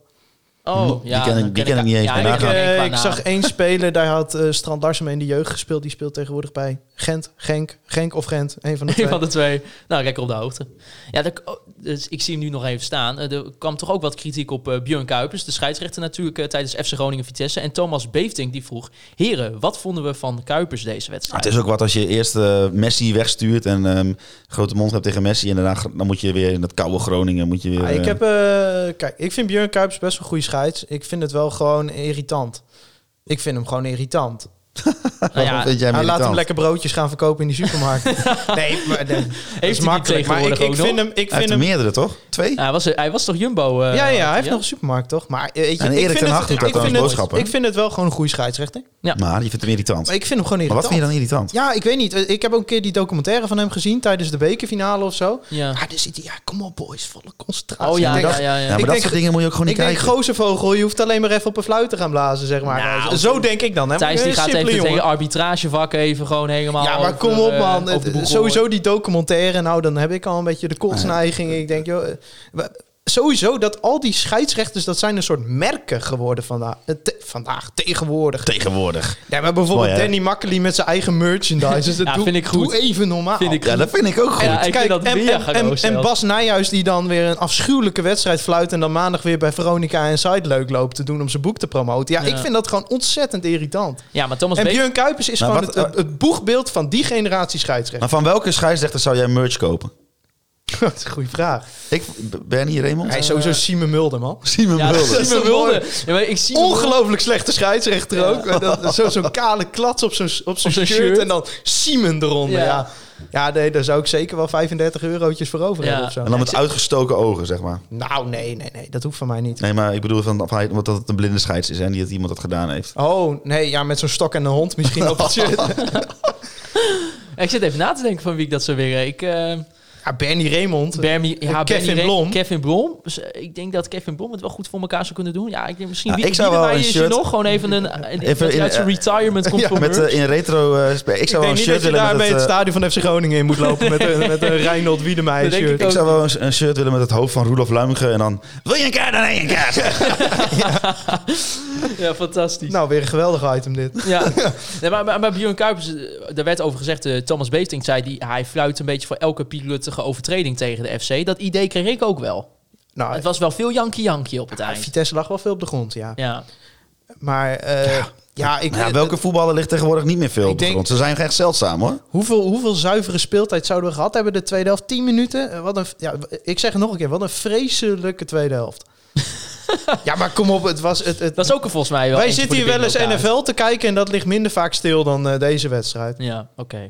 Oh, Die ja. ken ik- dan die ken ik niet eens ja, bij En Daar ik, gaan eh, ken qua ik naam. zag één speler, daar had eh, Strand Larsen mee in de jeugd gespeeld. Die speelt tegenwoordig bij Gent, Genk, Genk of Gent. Een van de Een twee. van de twee. Nou, lekker op de hoogte. Ja, dat- oh, dus ik zie hem nu nog even staan. Eh, Er kwam toch ook wat kritiek op eh Björn Kuipers, de scheidsrechter natuurlijk, eh, tijdens FC Groningen-Vitesse. En Thomas Beefting die vroeg, heren, wat vonden we van Kuipers deze wedstrijd? Het is ook wat als je eerst eh, Messi wegstuurt en ehm, grote mond hebt tegen Messi. En daarna gr- dan moet je weer in dat koude Groningen. Moet je weer, Ah, ik, eh, heb, eh, kijk, ik vind Björn Kuipers best wel een goede scheids. Ik vind het wel gewoon irritant. Ik vind hem gewoon irritant. Nou ja, wat vind jij Hij laat hem militant? lekker broodjes gaan verkopen in die supermarkt. nee, maar nee, dat hij is die makkelijk. Maar ik, tegenwoordig ik ook vind nog? hem... Ik Hij heeft vind er hem meerdere, toch? Twee? hij, was, hij was toch Jumbo? eh, ja, ja, hij heeft ja? nog een supermarkt, toch? Maar eh, weet je, En ik Erik vind ten het- Hag doet ik dat dan vind als het- boodschapper. Ik vind het wel gewoon een goede scheidsrechter. Maar je vindt hem irritant. Maar ik vind hem gewoon maar wat irritant. vind je dan irritant? Ja, ik weet niet. Eh, Ik heb ook een keer die documentaire van hem gezien tijdens de bekerfinale of zo. Ja. Ah, daar zit hij. Ja, kom op boys, volle concentratie. Oh ja, Ik denk- ja, ja, ja. Ja, maar Ik dat denk- soort dingen moet je ook gewoon Ik niet denk, kijken. gozervogel, je hoeft alleen maar even op een fluit te gaan blazen, zeg maar. Nou, zo denk ik dan. Hè? Thijs die Een gaat even simpele jongen. tegen arbitragevak even gewoon helemaal... Ja, maar over, kom op eh, man. over de boeg sowieso die documentaire. Nou, dan heb ik al een beetje de kotsneiging. Ik denk, joh... eh, wa- Sowieso dat al die scheidsrechters, dat zijn een soort merken geworden vandaag. eh, te- vandaag, tegenwoordig. Tegenwoordig. Ja, maar bijvoorbeeld Mooi, hè? Danny Makkely met zijn eigen merchandise. Dus dat Ja, doe, vind ik goed. doe even normaal. Dus Vind ik Ja, dat vind ik ook goed. Ja, eh. ik vind dat en, weer en, en, geroosterd. en Bas Nijhuis die dan weer een afschuwelijke wedstrijd fluit... en dan maandag weer bij Veronica en Side leuk loopt te doen om zijn boek te promoten. Ja, Ja. ik vind dat gewoon ontzettend irritant. Ja, maar Thomas En Beefting... Björn Kuipers is Nou, gewoon wat- het, het, het boegbeeld van die generatie scheidsrechter. Maar van welke scheidsrechter zou jij merch kopen? Dat is een goede vraag. Ik, Bernie, Raymond? Hij is Eh, sowieso Simon Mulder, man. Simon Ja, Mulder. Dat is Simon toch Mulder. mooi? Ja, maar ik zie Ongelooflijk slechte scheidsrechter ook. Dat- dat- zo- Zo'n kale klats op zijn op zijn zijn shirt, shirt. en dan Simon eronder. Ja. Ja. Ja. nee, daar zou ik zeker wel 35 eurotjes voor over Ja. hebben of zo. En dan met uitgestoken ogen, zeg maar. Nou, nee, nee, nee. Dat hoeft van mij niet. Nee, maar ik bedoel van, of hij- omdat het een blinde scheids is en dat iemand dat gedaan heeft. Oh, nee, ja, met zo'n stok en een hond misschien op het shirt. Ik zit even na te denken van wie ik dat zou willen. Ik... eh, Ja, Bernie Raymond. Bernie, ja, Kevin Bernie Re- Blom. Kevin Blom. Dus, eh, ik denk dat Kevin Blom het wel goed voor elkaar zou kunnen doen. Ja, ik denk misschien Ja, wie, ik zou wie wel erbij een is shirt- er nog gewoon even een, een- Even dat hij in, uit zijn eh, retirement komt voor Met, merch. eh, in retro... eh, spe- ik Ik zou wel denk een niet dat shirt je willen daarmee met het het... eh, stadion van FC Groningen in moet lopen met een, met een Reinhold Wiedemeyer Dat denk shirt. ik eh, ik zou wel een, een shirt willen met het hoofd van Rudolf Luimke en dan... Wil je een kaart? Dan een kaart. ja, fantastisch. eh, Nou, weer een geweldig item dit. Ja. Nee, maar, maar, maar Björn Kuipers, eh, daar werd over gezegd, eh, Thomas Beefting zei, die, hij fluit een beetje voor elke pilotige overtreding tegen de FC. Dat idee kreeg ik ook wel. Nou, eh, Het was wel veel jankie-jankie Ah, op het eind. Vitesse lag wel veel op de grond, ja. Ja. Maar eh, ja. ik, Maar ja, welke voetballer ligt tegenwoordig niet meer veel op de denk- grond? Ze zijn echt zeldzaam, hoor. hoeveel, hoeveel zuivere speeltijd zouden we gehad hebben de tweede helft? 10 minuten? Eh, Wat een, ja, ik zeg het nog een keer, wat een vreselijke tweede helft. ja, maar kom op, het was... Het, het, Dat is ook er volgens mij wel wij eentje zitten hier voor de wel eens binnenloop uit. NFL te kijken en dat ligt minder vaak stil dan eh, deze wedstrijd. Ja, oké.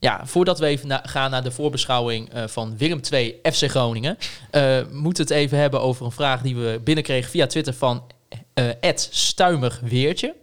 Ja, voordat we even na- gaan naar de voorbeschouwing eh, van Willem 2 FC Groningen, eh moet het even hebben over een vraag die we binnenkregen via Twitter van eh @stuimerweertje.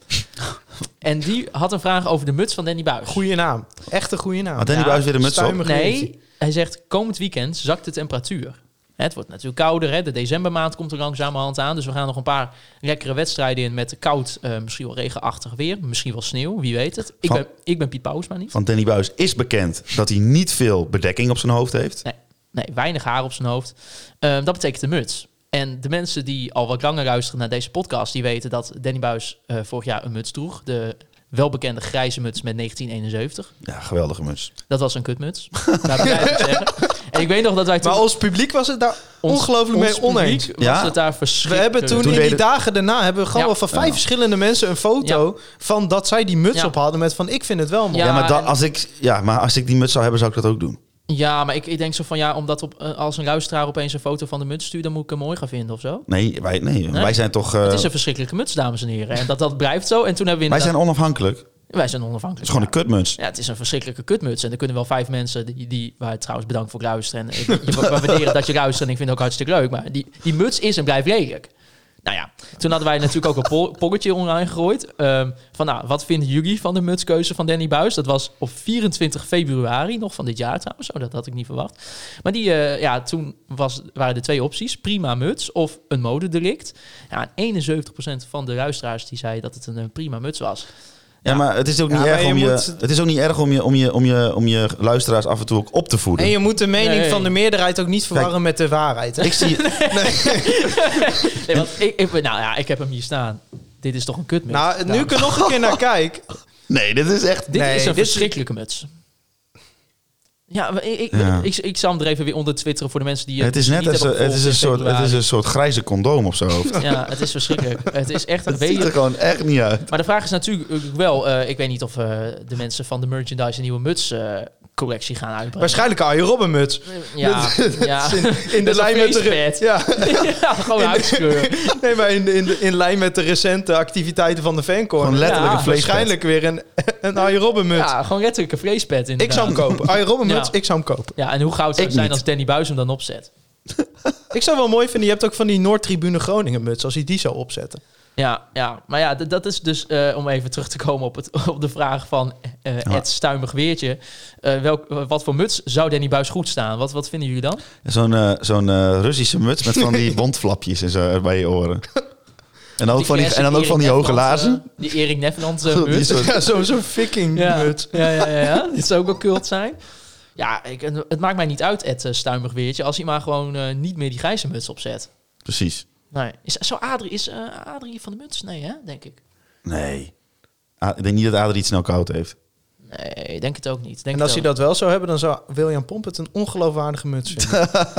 en die had een vraag over de muts van Danny Buis. Goeie naam. Echt een goede naam. Want Danny Ja, Buijs weer een muts op. stuimig. Nee, hij zegt komend weekend zakt de temperatuur. Hè, Het wordt natuurlijk kouder, hè? de decembermaand komt er langzamerhand aan. Dus we gaan nog een paar lekkere wedstrijden in met koud, eh, misschien wel regenachtig weer. Misschien wel sneeuw, wie weet het. Ik, Van- ben, ik ben Piet Pauwsma niet. Want Danny Buijs is bekend dat hij niet veel bedekking op zijn hoofd heeft. Nee, nee, weinig haar op zijn hoofd. Ehm, dat betekent een muts. En de mensen die al wat langer luisteren naar deze podcast, die weten dat Danny Buis eh, vorig jaar een muts droeg. De welbekende grijze muts met 1971. Ja, geweldige muts. Dat was een kutmuts. Laat ik het eigenlijk zeggen. En ik weet nog dat wij toen... Maar als publiek was het daar Ons- ongelooflijk ons mee oneens. publiek was Ja. het daar We verschrikkelijk. hebben toen, Toen in die deden- dagen daarna hebben we gewoon Ja. wel van vijf verschillende mensen een foto van dat zij die muts Ja. op hadden met van ik vind het wel mooi. Ja, Ja, maar, en- dat, als ik, ja, maar als ik die muts zou hebben, zou ik dat ook doen. Ja, maar ik, ik denk zo van ja, omdat op, eh, als een luisteraar opeens een foto van de muts stuurt, dan moet ik hem mooi gaan vinden of zo. Nee, wij, nee, wij zijn toch... eh, Het is een verschrikkelijke muts, dames en heren. En dat, dat blijft zo. En toen hebben we wij zijn inderdaad- onafhankelijk. Het wij zijn onafhankelijk. is gewoon een kutmuts. Ja, het is een verschrikkelijke kutmuts. En er kunnen wel vijf mensen, die, die waar trouwens bedankt voor het luisteren. eh, En, ik- je- we waarderen dat je luistert en ik vind het ook hartstikke leuk. Maar die, die muts is en blijft lelijk. Nou ja, toen hadden wij natuurlijk ook een po- pocketje online gegooid. ehm, van nou, wat vinden jullie van de mutskeuze van Danny Buis? Dat was op 24 februari nog van dit jaar trouwens. Oh, dat had ik niet verwacht. Maar die, eh, ja, toen was, waren er twee opties. Prima muts of een modedelict. Ja, en 71% van de luisteraars die zei dat het een, eh, prima muts was. Ja, maar het is ook Ja, niet maar erg je om je, moet- het is ook niet erg om je, om je, om je, om je luisteraars af en toe ook op te voeden. En je moet de mening Nee. van de meerderheid ook niet verwarren met de waarheid. Hè? Ik zie, Nee, want ik, ik, nou ja, ik heb hem hier staan. Dit Nou, is toch een kutmuts? nou, nu ik er nog een keer naar kijk. nee, dit is echt. Dit nee, is een dit- verschrikkelijke muts. Ja, maar ik, ik, Ja. Ik, ik zal hem er even weer onder twitteren voor de mensen die het is niet net als hebben een- het is een, soort, gevolgd in het februari. is een soort grijze condoom op zijn hoofd. Ja, het is verschrikkelijk. het is echt een Het ziet er beetje... gewoon echt niet uit. Maar de vraag is natuurlijk wel... eh, ik weet niet of eh, de mensen van de merchandise een nieuwe muts... eh, collectie gaan uitbrengen. Waarschijnlijk Arjen Robben muts. Ja, ja. In de Dat is lijn een met de... re- feestpet. Ja, ja, gewoon huidskleur. nee, maar in, de- in, de- in lijn met de recente activiteiten van de fancorner. Gewoon letterlijk Ja, een vleespet. Waarschijnlijk weer een, een Arjen Robben muts. Ja, gewoon letterlijk een vreespet ik inderdaad. zou hem kopen. Arjen Robben muts, Ja. ik zou hem kopen. Ja, en hoe goud zou het Ik zijn niet. als Danny Buis hem dan opzet? Ik zou wel mooi vinden, je hebt ook van die Noordtribune Groningen muts, als hij die zou opzetten. Ja, ja, maar ja, d- dat is dus eh, om even terug te komen op, het, op de vraag van eh Ja. Ed Stuimig Weertje. Eh, welk, wat voor muts zou Danny Buis goed staan? Wat, wat vinden jullie dan? Zo'n eh, zo'n eh, Russische muts met van die wondflapjes en zo bij je oren. En dan ook van die, en dan ook van die hoge laarzen. eh, die Erik Nefland eh, Die muts. soort- Ja, zo'n zo viking Ja, muts. ja, ja, ja, ja. Dit zou ook wel kult zijn. Ja, ik, het maakt mij niet uit, Ed eh, Stuimig Weertje, als hij maar gewoon eh, niet meer die grijze muts opzet. Precies. Nee. Is, zo Adrie, is eh, Adrie van de muts? Nee, hè? denk ik. Nee. Ah, ik denk niet dat Adrie het snel koud heeft. Nee, ik denk het ook niet. Denk En als het hij ook dat wel zou hebben, dan zou William Pomp het een ongeloofwaardige muts vinden. niet.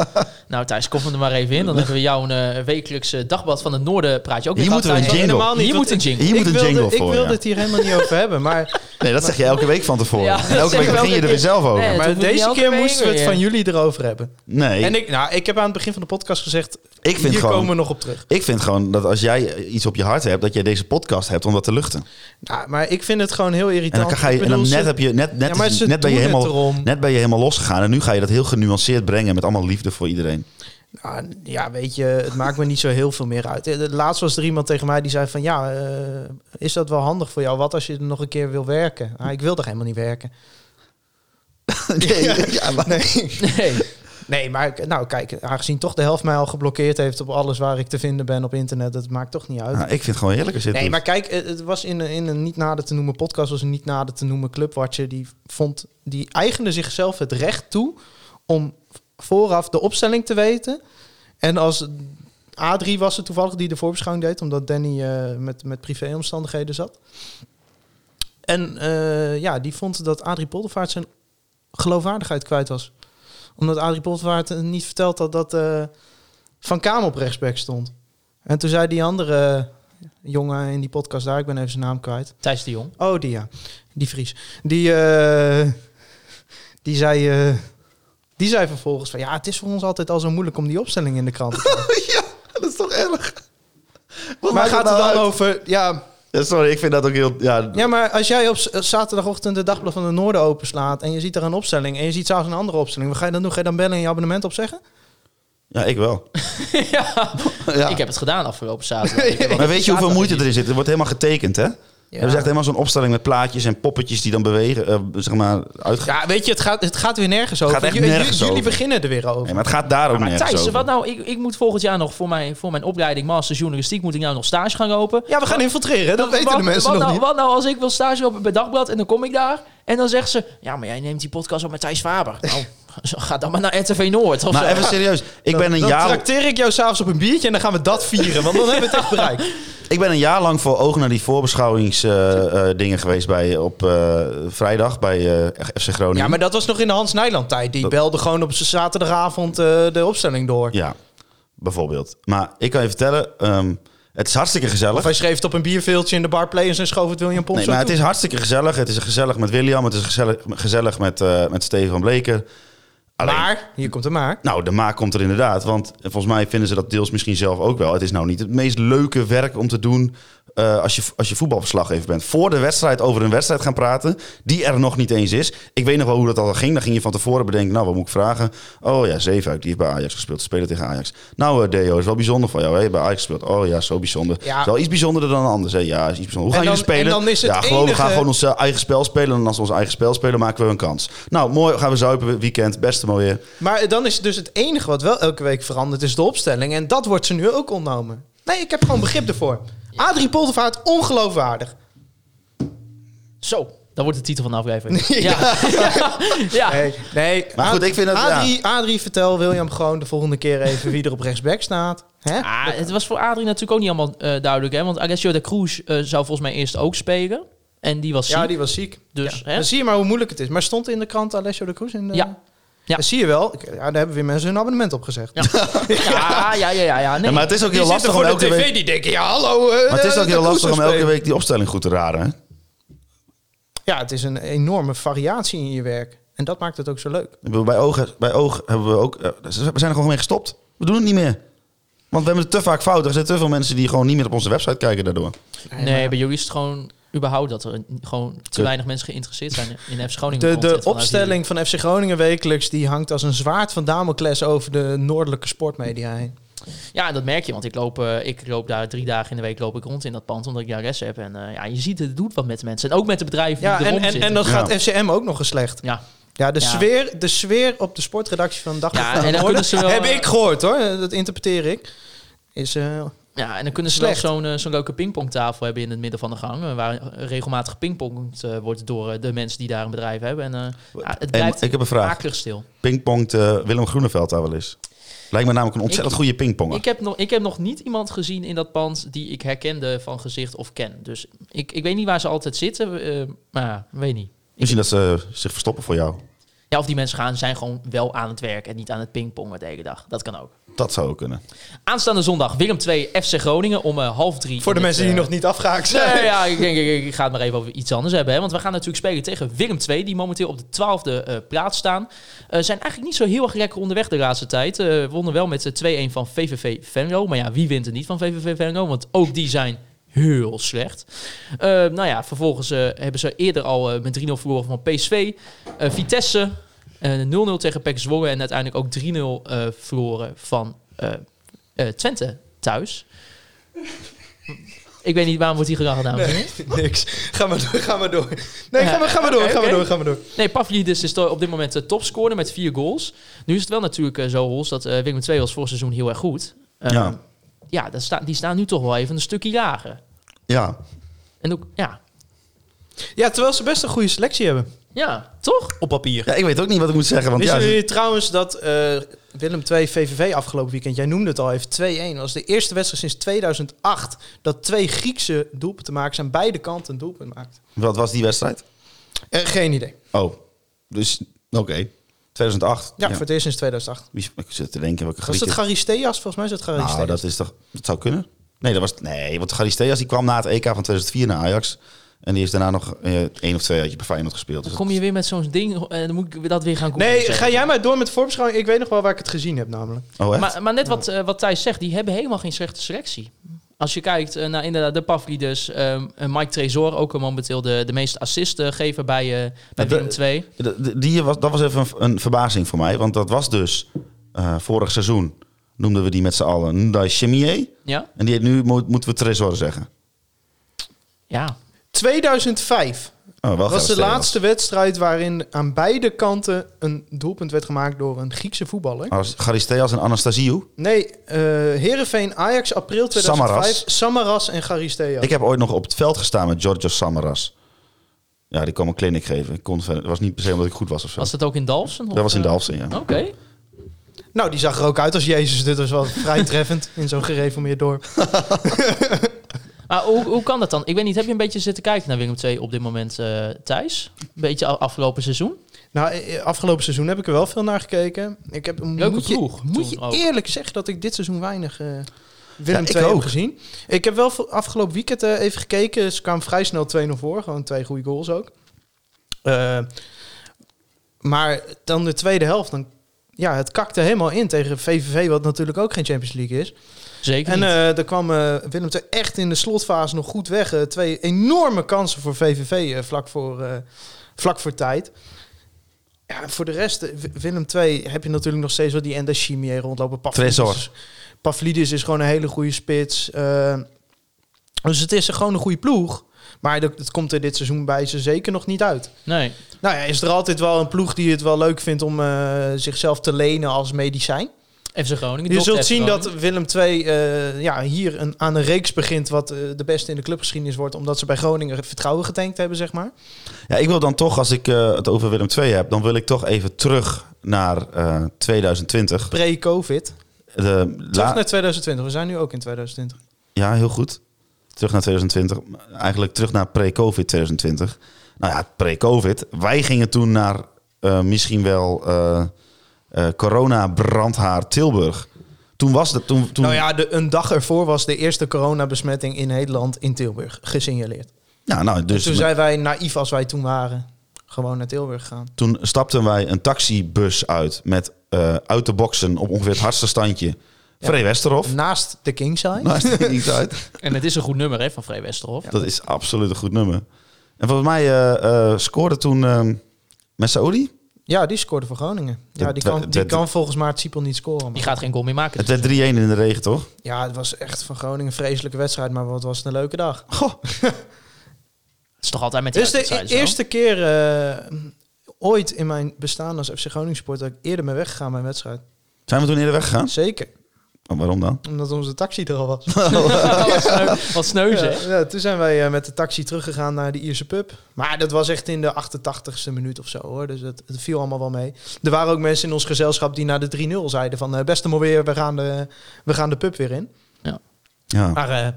Nou, Thijs, kom er maar even in. Dan hebben we jouw eh, wekelijkse dagblad van het Noorden. Praat je ook Hier weer moeten we gauw, een Thijs. jingle. Nou, Helemaal niet, Hier want moet een ik- jingle. Hier moet ik een wilde- jingle voor. Ik wil ja. het hier helemaal niet over hebben, maar, Nee, dat zeg je elke week van tevoren. Ja, en dat elke zeg week ik wel begin je er elke weer zelf over. Nee, dat Nee. maar hoeft niet deze elke keer week moesten we het weer. van jullie erover hebben. En ik, ik, nou, ik heb aan het begin van de podcast gezegd, Ik vind hier gewoon- komen we nog op terug. vind gewoon dat als jij iets op je hart hebt, dat jij deze podcast hebt om dat te luchten. Nou, maar ik vind het gewoon heel En irritant. dan, ga je, Ik en bedoel, dan ze- net, heb je, net, net, Ja, maar is- ze net, ben je doen het helemaal, erom. net ben je helemaal losgegaan. En nu ga je dat heel genuanceerd brengen met allemaal liefde voor iedereen. Nou, ja, weet je, het maakt me niet zo heel veel meer uit. Eh, Laatst was er iemand tegen mij die zei van... ja, eh, is dat wel handig voor jou? Wat als je er nog een keer wil werken? Ah, ik wil toch helemaal niet werken? Nee, ja, maar- Nee. Nee, maar ik- nou kijk, aangezien toch de helft mij al geblokkeerd heeft... op alles waar ik te vinden ben op internet... dat maakt toch niet uit. Ah, ik vind het gewoon heerlijk als je het Nee, doet. maar kijk, eh, het was in, een- in een niet nader te noemen podcast, was een niet nader te noemen clubwatcher. Die vond, die eigende zichzelf het recht toe om vooraf de opstelling te weten. En als A3 was het toevallig die de voorbeschouwing deed, omdat Danny eh, met, met privéomstandigheden zat. En eh, ja, die vond dat Adrie Poldervaart zijn geloofwaardigheid kwijt was. Omdat Adrie Poldervaart eh, niet verteld had dat eh, Van Kamer op rechtsback stond. En toen zei die andere jongen in die podcast daar, ik ben even zijn naam kwijt. Thijs de Jong. Oh, die ja. Die Fries. Die, eh, die zei... eh, die zei vervolgens van... Ja, het is voor ons altijd al zo moeilijk om die opstelling in de krant te krijgen. dat is toch erg? Maar gaat het nou dan over... Ja, sorry, ik vind dat ook heel... Ja, ja, maar als jij op z- zaterdagochtend de Dagblad van de Noorden openslaat... en je ziet daar een opstelling en je ziet zelfs een andere opstelling... wat ga je dan doen? Ga je dan bellen en je abonnement opzeggen? ja ik wel. ja. Ja. Ik heb het gedaan afgelopen zaterdag. Ik heb maar weet je hoeveel zaterdag moeite niet- erin zit? Er wordt helemaal getekend, hè? Hebben ze echt helemaal zo'n opstelling met plaatjes en poppetjes die dan bewegen, eh, zeg maar, uitgaan. Ja, weet je, het gaat, het gaat weer nergens over. Gaat echt Ju- ju- nergens jullie over. beginnen er weer over. Nee, maar het gaat daar ook Maar nergens Thijs, over. wat nou? Ik, ik moet volgend jaar nog voor mijn, voor mijn opleiding master journalistiek moet ik nou nog stage gaan lopen. Ja, we gaan infiltreren. hè? Dat Wat- weten wat- de mensen wat nog nou, niet. Wat nou als ik wil stage lopen bij Dagblad en dan kom ik daar en dan zegt ze... Ja, maar jij neemt die podcast op met Thijs Faber. Nou, ga dan maar naar RTV Noord of zo. Maar nou? Nou, even serieus, ik ben, een Dan jaar, trakteer ik jou s'avonds op een biertje en dan gaan we dat vieren. Want dan hebben we het echt bereikt. ik ben een jaar lang voor ogen naar die voorbeschouwingsdingen dingen geweest bij, op eh, vrijdag bij eh, FC Groningen. Ja, maar dat was nog in de Hans Nijland tijd. Die belde gewoon op z- zaterdagavond eh, de opstelling door. Ja, bijvoorbeeld. Maar ik kan je vertellen, ehm, het is hartstikke gezellig. Of hij schreef het op een bierveeltje in de barplayers en schoof het William Pomp Nee, zo maar het toe. is hartstikke gezellig. Het is gezellig met William. Het is gezellig, gezellig met, eh met Steven van Bleker. Alleen- Maar, hier komt het maar. Nou, de maak komt er inderdaad. Want volgens mij vinden ze dat deels misschien zelf ook wel. Het is nou niet het meest leuke werk om te doen eh, als, je, als je voetbalverslaggever bent. Voor de wedstrijd over een wedstrijd gaan praten, die er nog niet eens is. Ik weet nog wel hoe dat al ging. Dan ging je van tevoren bedenken, nou, wat moet ik vragen? Oh ja, Zeefuik, die heeft bij Ajax gespeeld. Ze spelen tegen Ajax. Nou, eh, Deo, is wel bijzonder van jou. Hè? Je hebt bij Ajax gespeeld. Oh ja, zo bijzonder. Ja. Is wel iets bijzonderder dan anders. Hè? Ja, is iets bijzonder. Hoe gaan En jullie dan- en spelen? dan is het ja, gewoon, we gaan enige- gewoon ons eh, eigen spel spelen. En als we ons eigen spel spelen, maken we een kans. Nou, mooi, gaan we zuipen weekend. Beste maar weer. Maar dan is dus het enige wat wel elke week verandert, is de opstelling. En dat wordt ze nu ook ontnomen. Nee, ik heb gewoon begrip ervoor. Adrie Poldervaart, ongeloofwaardig. Zo, dat wordt de titel van de aflevering. Ja. ja. Nee, nee. Maar goed, ik vind dat- ja. Adrie, Adrie, vertel William gewoon de volgende keer even wie er op rechtsback staat. Hè? Ah, het was voor Adrie natuurlijk ook niet allemaal eh, duidelijk. Hè? Want Alessio de Cruz eh, zou volgens mij eerst ook spelen. En die was ziek. Ja, die was ziek. Dus, Ja. hè? Dan zie je maar hoe moeilijk het is. Maar stond in de krant Alessio de Cruz? In de- Ja. Ja. Dan zie je wel, ik- ja, daar hebben weer mensen hun abonnement op gezegd. Ja. ja, ja, ja, ja. ja, nee. Ja, maar het is ook Die heel zitten lastig om voor de elke tv, week... die denken, ja hallo. eh, dus Maar het is ook de heel Cruz lastig om spelen. elke week die opstelling goed te raden. Hè? Ja, het is een enorme variatie in je werk. En dat maakt het ook zo leuk. Ik bedoel, Bij oog, bij oog hebben we ook... eh, We zijn er gewoon mee gestopt. We doen het niet meer. Want we hebben het te vaak fout. Er zijn te veel mensen die gewoon niet meer op onze website kijken daardoor. Nee, bij jullie is het gewoon überhaupt dat er gewoon te weinig mensen geïnteresseerd zijn in FC Groningen. De, de content vanuit opstelling van FC Groningen wekelijks... die hangt als een zwaard van Damocles over de noordelijke sportmedia heen. jullie. Ja, en dat merk je, want ik loop, eh, ik loop daar drie dagen in de week loop ik rond in dat pand, omdat ik daar rest heb. En eh, ja, je ziet, het doet wat met de mensen. En ook met de bedrijven Ja, die en, erom en, zitten. en dan Ja. gaat FCM ook nog eens slecht. ja. Ja, de, Ja. Sfeer, de sfeer op de sportredactie van Dag Ja, van en dan Noorden kunnen ze wel- eh, heb ik gehoord hoor. Dat interpreteer ik. Is, eh, ja, en dan kunnen ze Slecht. wel zo'n eh, zo'n leuke pingpongtafel hebben in het midden van de gang, eh, waar regelmatig gepingpongd eh, wordt door eh, de mensen die daar een bedrijf hebben. En eh, ja, het En blijft ik heb een vraag. akelig stil. Pingpongt eh, Willem Groeneveld daar wel eens. Lijkt me namelijk een ontzettend Ik- goede pingponger. Ik heb, nog, ik heb nog niet iemand gezien in dat pand die ik herkende van gezicht of ken. Dus ik, ik weet niet waar ze altijd zitten, eh, maar ja, weet niet. Misschien dat ze zich verstoppen voor jou. Ja, of die mensen gaan zijn gewoon wel aan het werk en niet aan het pingpongen de hele dag. Dat kan ook. Dat zou ook kunnen. Aanstaande zondag Willem 2 FC Groningen om eh, half drie. voor de in het, mensen die eh, nog niet afgehaakt zijn. Nee, ja, ik denk, ik, ik ga het maar even over iets anders hebben. Hè? Want we gaan natuurlijk spelen tegen Willem II, die momenteel op de twaalfde eh plaats staan. Eh zijn eigenlijk niet zo heel erg lekker onderweg de laatste tijd. Eh wonnen wel met eh, 2-1 van VVV Venlo. Maar ja, wie wint er niet van VVV Venlo? Want ook die zijn heel slecht. Eh, nou ja, vervolgens eh, hebben ze eerder al eh, met 3-0 verloren van PSV. Eh, Vitesse, eh, 0-0 tegen PEC Zwolle. En uiteindelijk ook 3-0 eh, verloren van eh, eh, Twente thuis. Ik weet niet waarom wordt hier gedaan. dames en heren. Nee, niks. Ga maar door, ga maar door. Nee, Ja, ga maar, ga maar door, oké, ga maar oké. door, ga maar door. Nee, Pavlidis is to- op dit moment de topscorer met vier goals. Nu is het wel natuurlijk eh, zo, Hols, dat eh Willem II was vorig seizoen heel erg goed. Eh, Ja. Ja, dat sta- die staan nu toch wel even een stukje lager. Ja, En ook, ja, Ja, terwijl ze best een goede selectie hebben. ja toch? Op papier. ja ik weet ook niet wat ik moet zeggen. Want ja, Wisten jullie trouwens dat eh, Willem 2 VVV afgelopen weekend, jij noemde het al even, 2-1, was de eerste wedstrijd sinds 2008 dat twee Griekse doelpunten maken aan beide kanten een doelpunt maakt. wat was die wedstrijd? Eh, geen idee. Oh, dus oké. 2008. Ja, voor het eerst sinds 2008. Wie- Ik zit te denken welke Was Griekje... dat Charisteas? Volgens mij is dat Charisteas. Nou, dat, is toch, dat zou kunnen. Nee, dat was, nee want Garisteas die kwam na het EK van 2004 naar Ajax. En die heeft daarna nog eh, één of twee uitje bij Feyenoord gespeeld. Dus Dan kom je weer met zo'n ding en dan moet ik dat weer gaan Nee, compenseren. ga jij maar door met de voorbeschouwing. Ik weet nog wel waar ik het gezien heb namelijk. dat- oh, echt? Maar, maar net wat, eh, wat Thijs zegt, die hebben helemaal geen slechte selectie. Als je kijkt eh, naar inderdaad de Pavlidis, ehm, en Mike Tresor, ook eh, momenteel de, de meeste assistgever bij, eh bij Maar de- Willem II. De- de- die was, dat was even een, een verbazing voor mij. Want dat was dus eh, vorig seizoen noemden we die met z'n allen Ndai Chimier. Ja? En die heet nu, moet, moeten we Tresor zeggen. Oh, Ja. 2005 Oh, wel Dat was de Garisteas. laatste wedstrijd waarin aan beide kanten een doelpunt werd gemaakt door een Griekse voetballer. Als Garisteas Oh, en Anastasiou. Nee, eh Herenveen Ajax april 2005. Samaras, en Garistea. Ik heb ooit nog op het veld gestaan met Georgios Samaras. Ja, die kwam een clinic geven. Ik kon, verder- het was niet per se omdat ik goed was of zo. Was dat ook in Dalfsen? eh? dat was in de Dalfsen, ja. Oké. Nou, die zag er ook uit als Jezus. Dit was wel vrij treffend in zo'n gereformeerd dorp. Maar hoe, hoe kan dat dan? Ik weet niet, heb je een beetje zitten kijken naar Willem 2 op dit moment, eh, Thijs? Een beetje af- afgelopen seizoen? Nou, eh, afgelopen seizoen heb ik er wel veel naar gekeken. Ik heb, moet je, ploeg moet je toen ook. eerlijk zeggen dat ik dit seizoen weinig eh Willem Ja, ik II heb ook. gezien. Ik heb wel voor- afgelopen weekend eh, even gekeken. Ze kwamen vrij snel 2-0 voor. Gewoon twee goede goals ook. Eh, maar dan de tweede helft. Dan, ja, het kakte helemaal in tegen VVV, wat natuurlijk ook geen Champions League is. Zeker En niet. eh er kwam eh, Willem II echt in de slotfase nog goed weg. Eh, twee enorme kansen voor VVV eh, vlak, voor, eh, vlak voor tijd. Ja, en voor de rest, eh, Wi- Willem II heb je natuurlijk nog steeds wel die Endachimie rondlopen. Tresor. Pavlidis is gewoon een hele goede spits. Eh, dus het is gewoon een goede ploeg. Maar dat, dat komt er dit seizoen bij ze zeker nog niet uit. nee. Nou ja, is er altijd wel een ploeg die het wel leuk vindt om eh, zichzelf te lenen als medicijn. FC Groningen. Je dopt zult FC zien dat Groningen. Willem II eh, ja, hier een, aan een reeks begint wat eh, de beste in de clubgeschiedenis wordt. Omdat ze bij Groningen het vertrouwen getankt hebben, zeg maar. Ja, ik wil dan toch, als ik eh, het over Willem II heb, dan wil ik toch even terug naar eh 2020. Pre-COVID. De Terug la- naar 2020. We zijn nu ook in 2020. ja, heel goed. terug naar 2020, eigenlijk terug naar pre-COVID 2020. Nou ja, pre-COVID. Wij gingen toen naar eh, misschien wel eh, eh, corona-brandhaar Tilburg. Toen was dat... Toen, toen, Nou ja, de, een dag ervoor was de eerste coronabesmetting in Nederland in Tilburg gesignaleerd. Ja, nou, dus Dus toen met- zijn wij, naïef als wij toen waren, gewoon naar Tilburg gegaan. toen stapten wij een taxibus uit met eh, uit de boxen op ongeveer het hardste standje. Vree Westerhof. Naast de Kingside. Nou, is die niet uit. En het is een goed nummer hè, van Vrij Westerhof. Dat is absoluut een goed nummer. En volgens mij eh, eh, scoorde toen ehm met Saudi. Ja, die scoorde voor Groningen. Ja, Dat- die kan, dat- die dat- kan volgens mij het Siepel niet scoren. Die Maar. gaat geen goal meer maken. Het werd 3-1 in de regen, toch? Ja, het was echt van Groningen een vreselijke wedstrijd, maar wat was het een leuke dag. Het is toch altijd met die Dus de uitwedstrijden zo? eerste keer eh, ooit in mijn bestaan als FC Groningen supporter dat ik eerder ben weggegaan bij een wedstrijd. Zijn we toen eerder weggegaan? Zeker, Oh, waarom dan? omdat onze taxi er al was. wat, sneu, wat sneu Ja, zeg. ja, toen zijn wij eh, met de taxi teruggegaan naar de Ierse pub. Maar dat was echt in de 88ste minuut of zo hoor. Dus het, het viel allemaal wel mee. Er waren ook mensen in ons gezelschap die na de 3-0 zeiden van... eh, beste maar weer, we gaan, de, we gaan de pub weer in. Ah, Ja. Maar eh,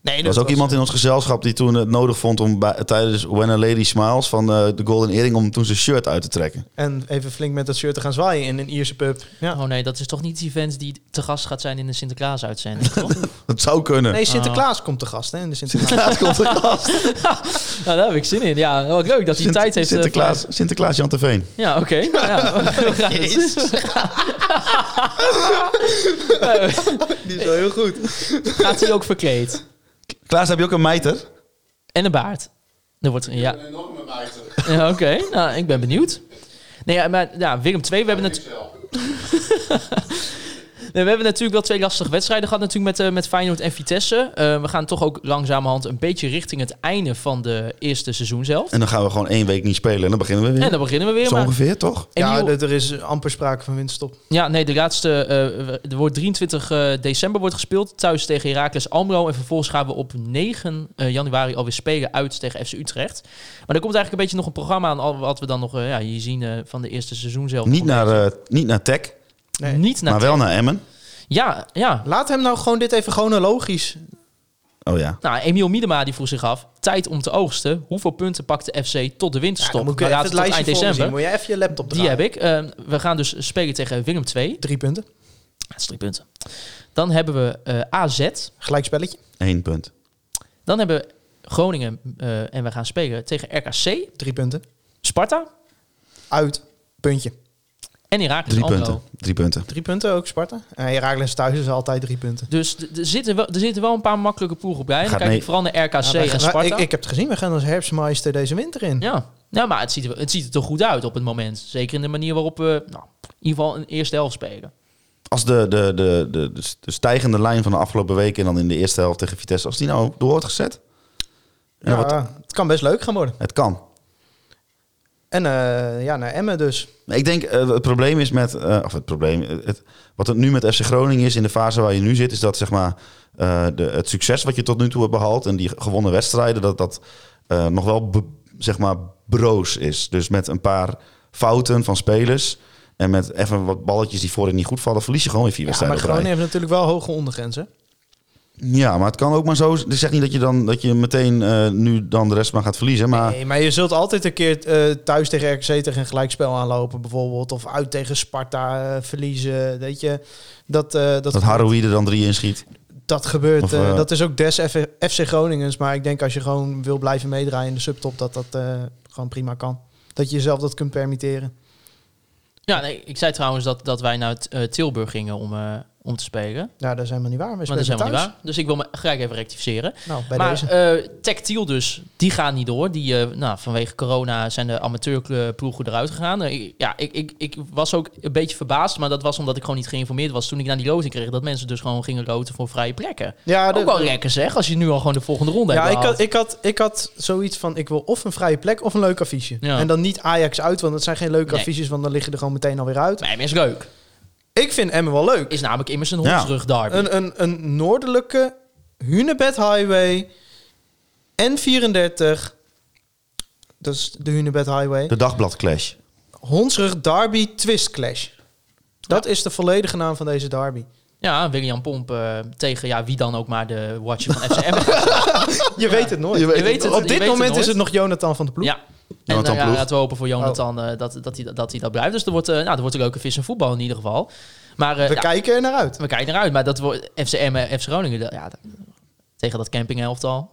nee, Er was ook eh, iemand in ons gezelschap die toen het nodig vond om bij, tijdens When a Lady Smiles van eh, de Golden Earring om toen zijn shirt uit te trekken. En even flink met dat shirt te gaan zwaaien in een Ierse pub. Ja. Oh nee, dat is toch niet die vent die te gast gaat zijn in de Sinterklaas-uitzending, toch? Dat zou kunnen. Nee, Sinterklaas komt te gast hè, in de Sinterklaas. Sinterklaas komt er gast. nou, daar heb ik zin in. Ja, wat leuk dat hij Sint- tijd heeft. eh, Sinterklaas, Sinterklaas Jan Terveen. voor- Ja, oké. Nou ja, we gaan het- Die is wel heel goed. Gaat hij ook verkleed? Klaas, heb je ook een mijter? En een baard. Er wordt, ja. Ja, Oké, nou, ik ben benieuwd. Nee, ja, maar ja, Willem 2, we hebben het... Nee, we hebben natuurlijk wel twee lastige wedstrijden gehad natuurlijk met, eh, met Feyenoord en Vitesse. Eh, we gaan toch ook langzamerhand een beetje richting het einde van de eerste seizoen zelf. En dan gaan we gewoon één week niet spelen en dan beginnen we weer. En dan beginnen we weer. Zo Maar, ongeveer, toch? Ja, Emiel- d- er is amper sprake van winststop. Ja, nee, de laatste. eh, er wordt 23 eh, december wordt gespeeld. Thuis tegen Heracles Almelo. En vervolgens gaan we op 9 eh, januari alweer spelen uit tegen FC Utrecht. Maar er komt eigenlijk een beetje nog een programma aan. al Wat we dan nog eh, ja, hier zien eh, van de eerste seizoen zelf. Niet naar, eh, niet naar Tech, Nee. Niet naar maar wel naar Emmen. Ja, ja. Laat hem nou gewoon dit even chronologisch. Oh ja. Nou, Emiel Miedema die vroeg zich af. Tijd om te oogsten. Hoeveel punten pakt de FC tot de winterstop? dan moet ik We even laten het tot lijstje eind voor me zien. december. Moet je even je laptop Die draaien. heb ik. Eh, we gaan dus spelen tegen Willem 2. Drie punten. Dat is drie punten. Dan hebben we eh, AZ. Gelijkspelletje. Eén punt. Dan hebben we Groningen eh, en we gaan spelen tegen RKC, Drie punten. Sparta Uit. Puntje. en Heracles Drie Almelo. punten. Drie punten. Drie punten ook, Sparta. En Herakles thuis is altijd drie punten. Dus d- er zitten, wel, er zitten wel een paar makkelijke ploegen bij. Dan Gaat kijk mee. ik vooral naar RKC Ja, wij gaan- en Sparta. Ik, ik heb het gezien, we gaan als herfstmeister deze winter in. Ja. ja, maar het ziet, er, het ziet er toch goed uit op het moment. Zeker in de manier waarop we nou, in ieder geval een eerste helft spelen. Als de, de, de, de, de- de stijgende lijn van de afgelopen weken en dan in de eerste helft tegen Vitesse, als die nou door wordt gezet, Ja, Ja, wat- het kan best leuk gaan worden. het kan. En eh, ja, naar Emmen dus. Maar Ik denk, eh, het probleem is met, eh, of het probleem, eh, het, wat het nu met FC Groningen is in de fase waar je nu zit, is dat zeg maar eh, de, het succes wat je tot nu toe hebt behaald en die gewonnen wedstrijden, dat dat eh, nog wel be- zeg maar broos is. Dus met een paar fouten van spelers en met even wat balletjes die voorin niet goed vallen, verlies je gewoon weer vier Ja, maar wedstrijden. op rij. Groningen heeft natuurlijk wel hoge ondergrenzen. Ja, maar het kan ook maar zo. Ik zeg niet dat je dan dat je meteen eh, nu dan de rest maar gaat verliezen. Maar Nee, maar je zult altijd een keer eh, thuis tegen RKC tegen een gelijkspel aanlopen bijvoorbeeld. Of uit tegen Sparta eh, verliezen, weet je. Dat, eh, dat, dat Haroui er dan drie in schiet. dat gebeurt. Of, eh, eh, dat is ook des F- FC Groningens. Maar ik denk als je gewoon wil blijven meedraaien in de subtop, dat dat eh, gewoon prima kan. Dat je jezelf dat kunt permitteren. Ja, nee, ik zei trouwens dat, dat wij naar eh, Tilburg gingen om, eh, om te spelen. Ja, dat is helemaal niet waar. We Maar dat spelen is helemaal niet thuis. waar. Dus ik wil me graag even rectificeren. Nou, bij maar deze. eh, Tactiel dus, die gaan niet door. Die, eh, nou, vanwege corona zijn de amateurploegen eruit gegaan. Eh, ik- ja, ik, ik, ik was ook een beetje verbaasd, maar dat was omdat ik gewoon niet geïnformeerd was toen ik naar die loting kreeg. Dat mensen dus gewoon gingen loten voor vrije plekken. Ja, ook dat- wel lekker zeg, als je nu al gewoon de volgende ronde Ja, hebt ik had, behaald. ik, had, ik had zoiets van, ik wil of een vrije plek of een leuk affiche. Ja. En dan niet Ajax uit, want dat zijn geen leuke Nee. affiches, want dan liggen er gewoon meteen alweer uit. Nee, maar is leuk. Ik vind Emmen wel leuk. Is namelijk immers een Ja. hondsrug derby. Een, een, een noordelijke Hunebed Highway N34. Dat is de Hunebed Highway. De dagbladclash. Hondsrug Derby Twist Clash. Dat is de volledige naam van deze derby. Ja, William Pomp eh, tegen ja, wie dan ook maar de watcher van FCM. Je weet het nooit. Je weet Je weet het, Op je dit weet moment nooit. is het nog Jonathan van de Ploeg. Ja. En Jonathan nou ja, Ploeg. laten we hopen voor Jonathan Oh. eh, dat, dat, hij, dat hij dat blijft. Dus er wordt, eh, nou, er wordt een leuke vis en voetbal in ieder geval. Maar eh, We ja, kijken er naar uit. we kijken eruit. Maar dat wordt FCM en FC eh, Groningen. dat- Ja, dat- tegen dat campinghelftal.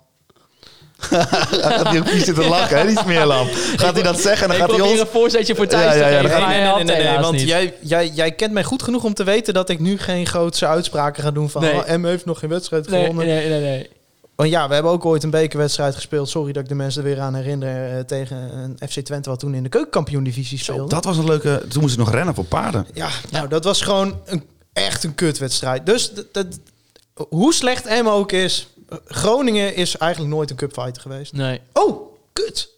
Gaat hij ook niet zitten lachen, hè? Die smeerlap. Gaat hij dat zeggen en dan Ik gaat hij probeer ons... een voorzetje voor Thijs Ja, te ja, ja, geven, dat gaat- maar hij had helaas want niet. jij, jij, jij kent mij goed genoeg om te weten dat ik nu geen grootse uitspraken ga doen van Nee. oh, M heeft nog geen wedstrijd Nee, gewonnen. nee, nee, nee. Want ja, we hebben ook ooit een bekerwedstrijd gespeeld. Sorry dat ik de mensen er weer aan herinner eh, tegen een FC Twente wat toen in de keukenkampioen-divisie speelde. Dat was een leuke... Toen moest ik nog rennen voor paarden. Ja, nou, dat was gewoon een, echt een kutwedstrijd. Dus dat, dat- hoe slecht Emma ook is, eh, Groningen is eigenlijk nooit een cupfighter geweest. Nee. Oh, kut.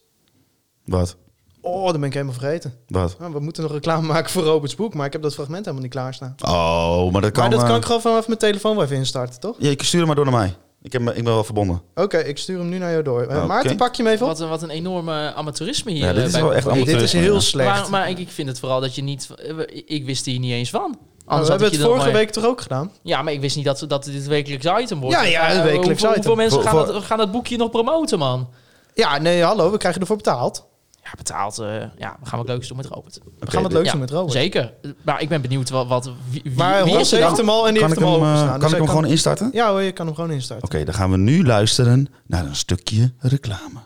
Wat? Oh, dat ben ik helemaal vergeten. Wat? Nou, we moeten nog reclame maken voor Roberts boek, maar ik heb dat fragment helemaal niet klaarstaan. Oh, maar dat kan... maar dat eh, kan ik gewoon vanaf mijn telefoon wel even instarten, toch? Ja, je stuurt hem maar door naar mij. Ik, heb, me- ik ben wel verbonden. Oké, ik stuur hem nu naar jou door. Eh, Oké. Maarten, pak je hem even op. Wat een, wat een enorme amateurisme hier. Ja, dit eh, is bij wel echt Bob. allemaal Dit is heel slecht. Maar, maar ik, ik vind het vooral dat je niet... eh, Ik wist hier niet eens van. Nou, Anders we had hebben ik het je er nog vorige maar- week toch ook gedaan? Ja, maar ik wist niet dat, dat dit het wekelijks item wordt. Ja, ja, het Eh, wekelijks hoeveel, item. Hoeveel mensen Voor- gaan, voor- dat, gaan dat boekje nog promoten, man? Ja, nee, hallo, we krijgen ervoor betaald. Ja, betaald. eh, ja, we gaan wat leuks doen met Robert. We gaan het leuk ja, doen met Robert. Zeker. Maar ik ben benieuwd wat... wat wie, wie- Maar wie is Hans er heeft dan? hem al en die Kan heeft ik hem hem, eh, al openstaan. kan Dus ik hem hij gewoon instarten? Oké, Ja hoor, je kan hem gewoon instarten. dan gaan we nu luisteren naar een stukje reclame.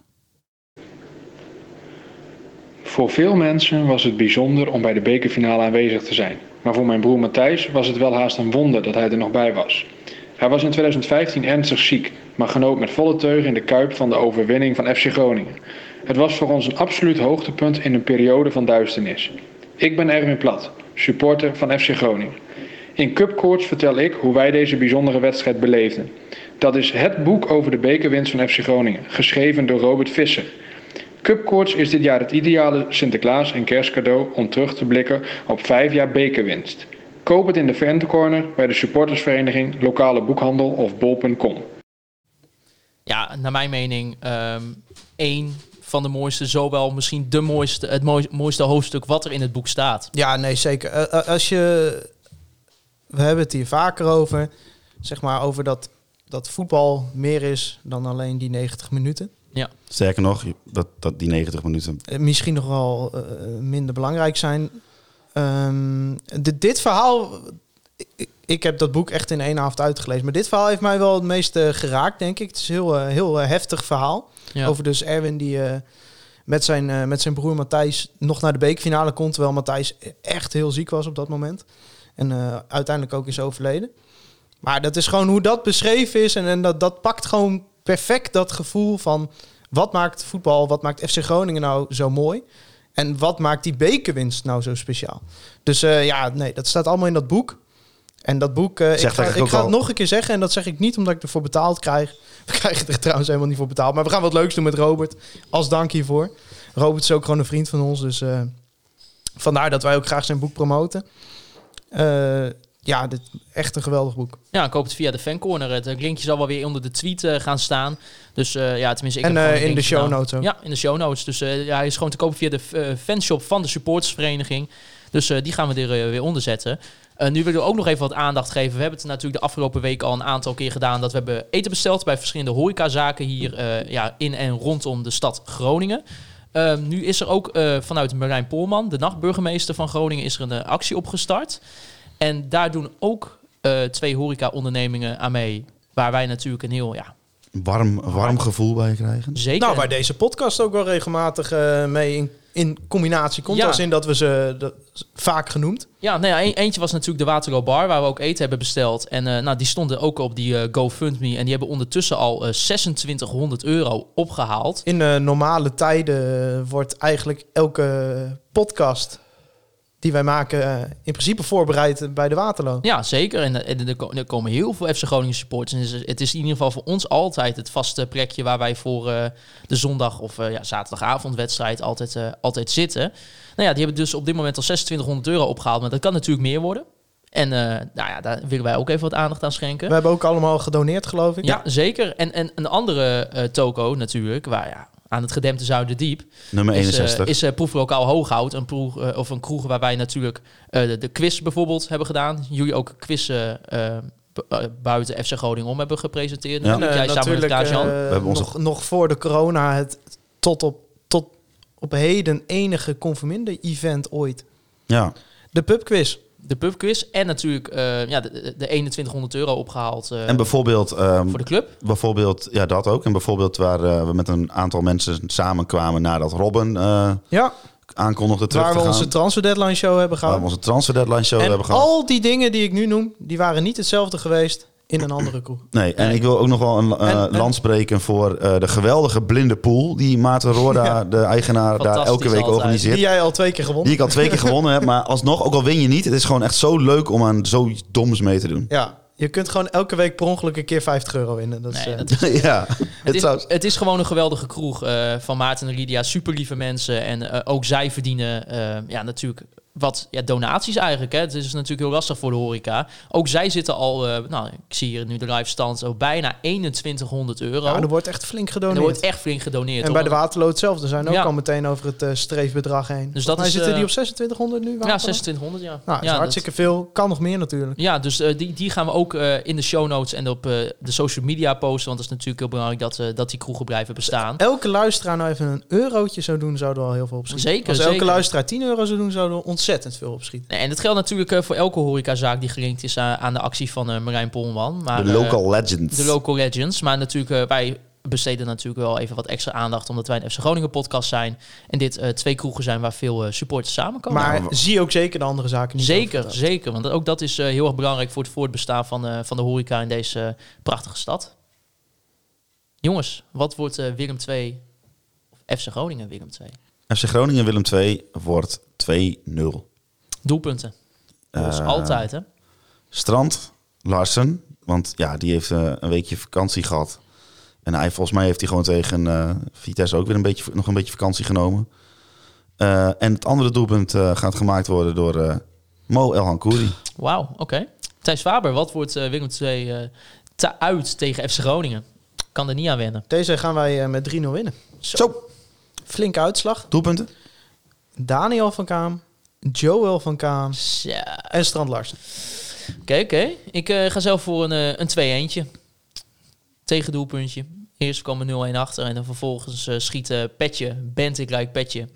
Voor veel mensen was het bijzonder om bij de bekerfinale aanwezig te zijn. Maar voor mijn broer Matthijs was het wel haast een wonder dat hij er nog bij was. Hij was in 2015 ernstig ziek, maar genoot met volle teugen in de kuip van de overwinning van FC Groningen. Het was voor ons een absoluut hoogtepunt in een periode van duisternis. Ik ben Erwin Plat, supporter van FC Groningen. In Cupcoorts vertel ik hoe wij deze bijzondere wedstrijd beleefden. Dat is het boek over de bekerwinst van FC Groningen, geschreven door Robert Visser. Cupcoorts is dit jaar het ideale Sinterklaas- en kerstcadeau om terug te blikken op vijf jaar bekerwinst. Koop het in de Fancorner bij de supportersvereniging, lokale boekhandel of bol.com. Ja, naar mijn mening... ehm één van de mooiste, zowel misschien de mooiste, het mooi- mooiste hoofdstuk wat er in het boek staat. Ja, nee, zeker. Eh, eh, als je... We hebben het hier vaker over. Zeg maar over dat, dat voetbal meer is dan alleen die 90 minuten. Sterker nog, je- dat, dat, die 90 minuten. Eh, misschien nog wel eh, minder belangrijk zijn. Ehm, di- dit verhaal... Ik, ik heb dat boek echt in één avond uitgelezen. Maar dit verhaal heeft mij wel het meest eh, geraakt, denk ik. Het is een heel, eh, heel eh, heftig verhaal. Ja. Over dus Erwin die eh, met, zijn, eh, met zijn broer Matthijs nog naar de beekfinale kon. Terwijl Matthijs echt heel ziek was op dat moment. En eh, uiteindelijk ook is overleden. Maar dat is gewoon hoe dat beschreven is. En, en dat, dat pakt gewoon perfect dat gevoel van... wat maakt voetbal, wat maakt FC Groningen nou zo mooi? En wat maakt die bekerwinst nou zo speciaal? Dus eh, ja, nee, dat staat allemaal in dat boek. En dat boek, eh, ik Zegt ga, eigenlijk ik ook ga het al- nog een keer zeggen. En dat zeg ik niet omdat ik ervoor betaald krijg. We krijgen er trouwens helemaal niet voor betaald. Maar we gaan wat leuks doen met Robert. Als dank hiervoor. Robert is ook gewoon een vriend van ons. Dus eh, vandaar dat wij ook graag zijn boek promoten. Eh, ja, dit, echt een geweldig boek. Ja, koop het via de fancorner. Het eh, linkje zal wel weer onder de tweet eh, gaan staan. Dus eh, ja, tenminste... Ik en heb eh, gewoon een in de linkje show gedaan. notes ook. Ja, in de show notes. Dus eh, ja, hij is gewoon te kopen via de eh, fanshop van de supportersvereniging. Dus eh, die gaan we er eh, weer onder zetten. Eh, nu willen we ook nog even wat aandacht geven. We hebben het natuurlijk de afgelopen week al een aantal keer gedaan. Dat we hebben eten besteld bij verschillende horecazaken hier eh, ja, in en rondom de stad Groningen. Eh, nu is er ook eh, vanuit Marijn Polman, de nachtburgemeester van Groningen, is er een eh, actie opgestart. En daar doen ook eh, twee horeca-ondernemingen aan mee. Waar wij natuurlijk een heel, ja, Warm, warm gevoel bij krijgen. zeker... Nou, waar deze podcast ook wel regelmatig eh, mee in, in combinatie komt. Ja. Als in dat we ze dat, vaak genoemd. Ja, nou ja, een- eentje was natuurlijk de Waterloo Bar, waar we ook eten hebben besteld. En eh, nou, die stonden ook op die eh, GoFundMe. En die hebben ondertussen al eh, 2600 euro opgehaald. In eh, normale tijden eh, wordt eigenlijk elke podcast die wij maken eh, in principe voorbereid bij de Waterloo. Ja, zeker. En, eh, en er ko- er komen heel veel FC Groningen supporters. En het is- het is in ieder geval voor ons altijd het vaste plekje waar wij voor eh, de zondag- of eh, ja, zaterdagavondwedstrijd altijd, eh, altijd zitten. Nou ja, die hebben dus op dit moment al 2600 euro opgehaald. Maar dat kan natuurlijk meer worden. En eh, nou ja, daar willen wij ook even wat aandacht aan schenken. We hebben ook allemaal gedoneerd, geloof ik. Ja, zeker. En, en een andere eh, toko natuurlijk, waar ja, aan het gedempte Zuiderdiep. Nummer is, eh, 61. Is, eh, proeflokaal Hooghout, een proeg, eh, of een kroeg waar wij natuurlijk eh, de, de quiz bijvoorbeeld hebben gedaan. Jullie ook quizzen eh, bu- eh, buiten FC Groningen om hebben gepresenteerd. Ja. Natuurlijk, Jij samen met elkaar, Jan. eh, hebben onze- nog, nog voor de corona het tot op, tot op heden enige conforminder-event ooit. ja. De pubquiz. de pubquiz en natuurlijk eh, ja, de, de- de 2100 euro opgehaald eh, En bijvoorbeeld, ehm, voor de club. bijvoorbeeld, ja, dat ook. En bijvoorbeeld waar eh, we met een aantal mensen samenkwamen nadat Robin eh, Ja, aankondigde terug waar we te gaan. onze transfer deadline show hebben waar gehad. we onze transfer deadline show en hebben gehad. al die dingen die ik nu noem, die waren niet hetzelfde geweest in een andere kroeg. Nee, en ik wil ook nog wel een eh, En- en- land spreken voor eh, de geweldige blinde pool die Maarten Roorda, de eigenaar, daar Fantastisch elke week altijd. organiseert. Die jij al twee keer gewonnen. Die ik al twee keer gewonnen heb, maar alsnog, ook al win je niet, het is gewoon echt zo leuk om aan zoiets doms mee te doen. Ja, je kunt gewoon elke week per ongeluk een keer 50 euro winnen. Dat is, Nee, eh, dat ja, het Het zou- is, het is gewoon een geweldige kroeg eh, van Maarten en Lydia. Super lieve mensen. En eh, ook zij verdienen eh, ja, natuurlijk wat ja, donaties eigenlijk. Hè. Het is natuurlijk heel lastig voor de horeca. Ook zij zitten al, eh, nou, ik zie hier nu de live stand, zo bijna 2100 euro. ja, er en wordt echt flink er gedoneerd. wordt echt flink gedoneerd. en bij de Omdat- waterlood zelf, er zijn ook Ja. al meteen over het eh, streefbedrag heen. Dus dat dat mij is, zitten eh, die op 2600 nu? Ja, Waterlood? 2600, ja. Nou, dat ja, is dat- hartstikke veel. Kan nog meer natuurlijk. Ja, dus eh, die, die gaan we ook eh, in de show notes en op eh, de social media posten. Want het is natuurlijk heel belangrijk dat, eh, dat die kroegen blijven bestaan. Elke luisteraar nou even een eurotje zou doen, zouden we al heel veel opschieten. Zeker, Als elke zeker. luisteraar 10 euro zou doen, zouden we ontzettend veel opschieten. Nee, en dat geldt natuurlijk eh, voor elke horecazaak die gelinkt is aan, aan de actie van eh, Marijn Polman. Maar, de eh, local legends. de local legends. Maar natuurlijk, eh, wij besteden natuurlijk wel even wat extra aandacht... omdat wij een FC Groningen podcast zijn. En dit eh, twee kroegen zijn waar veel eh, supporters samenkomen. maar maar- zie ook zeker de andere zaken niet. nou. zeker, over. zeker. Want ook dat is eh, heel erg belangrijk voor het voortbestaan van, eh, van de horeca in deze eh, prachtige stad. Jongens, wat wordt eh, Willem 2... of FC Groningen Willem 2? FC Groningen Willem 2 wordt 2-0. Doelpunten. Zoals Eh, altijd, hè? Strand, Larsen. Want ja, die heeft eh, een weekje vakantie gehad. En hij, volgens mij heeft hij gewoon tegen eh, Vitesse ook weer een beetje, nog een beetje vakantie genomen. Eh, en het andere doelpunt eh, gaat gemaakt worden door eh, Mo Elhankouri. Wauw, oké. Thijs Faber, wat wordt eh, Willem 2 eh, te uit tegen FC Groningen? Kan er niet aan wennen. Deze gaan wij eh, met 3-0 winnen. Zo, Flinke uitslag. doelpunten. Daniel van Kaam, Joel van Kaam Ja. en Strand Larsen. Oké, oké. Ik eh, ga zelf voor een, eh, een 2 eentje Tegen doelpuntje. Eerst komen 0-1 achter en dan vervolgens eh schiet eh, Petje, bent ik like Petje.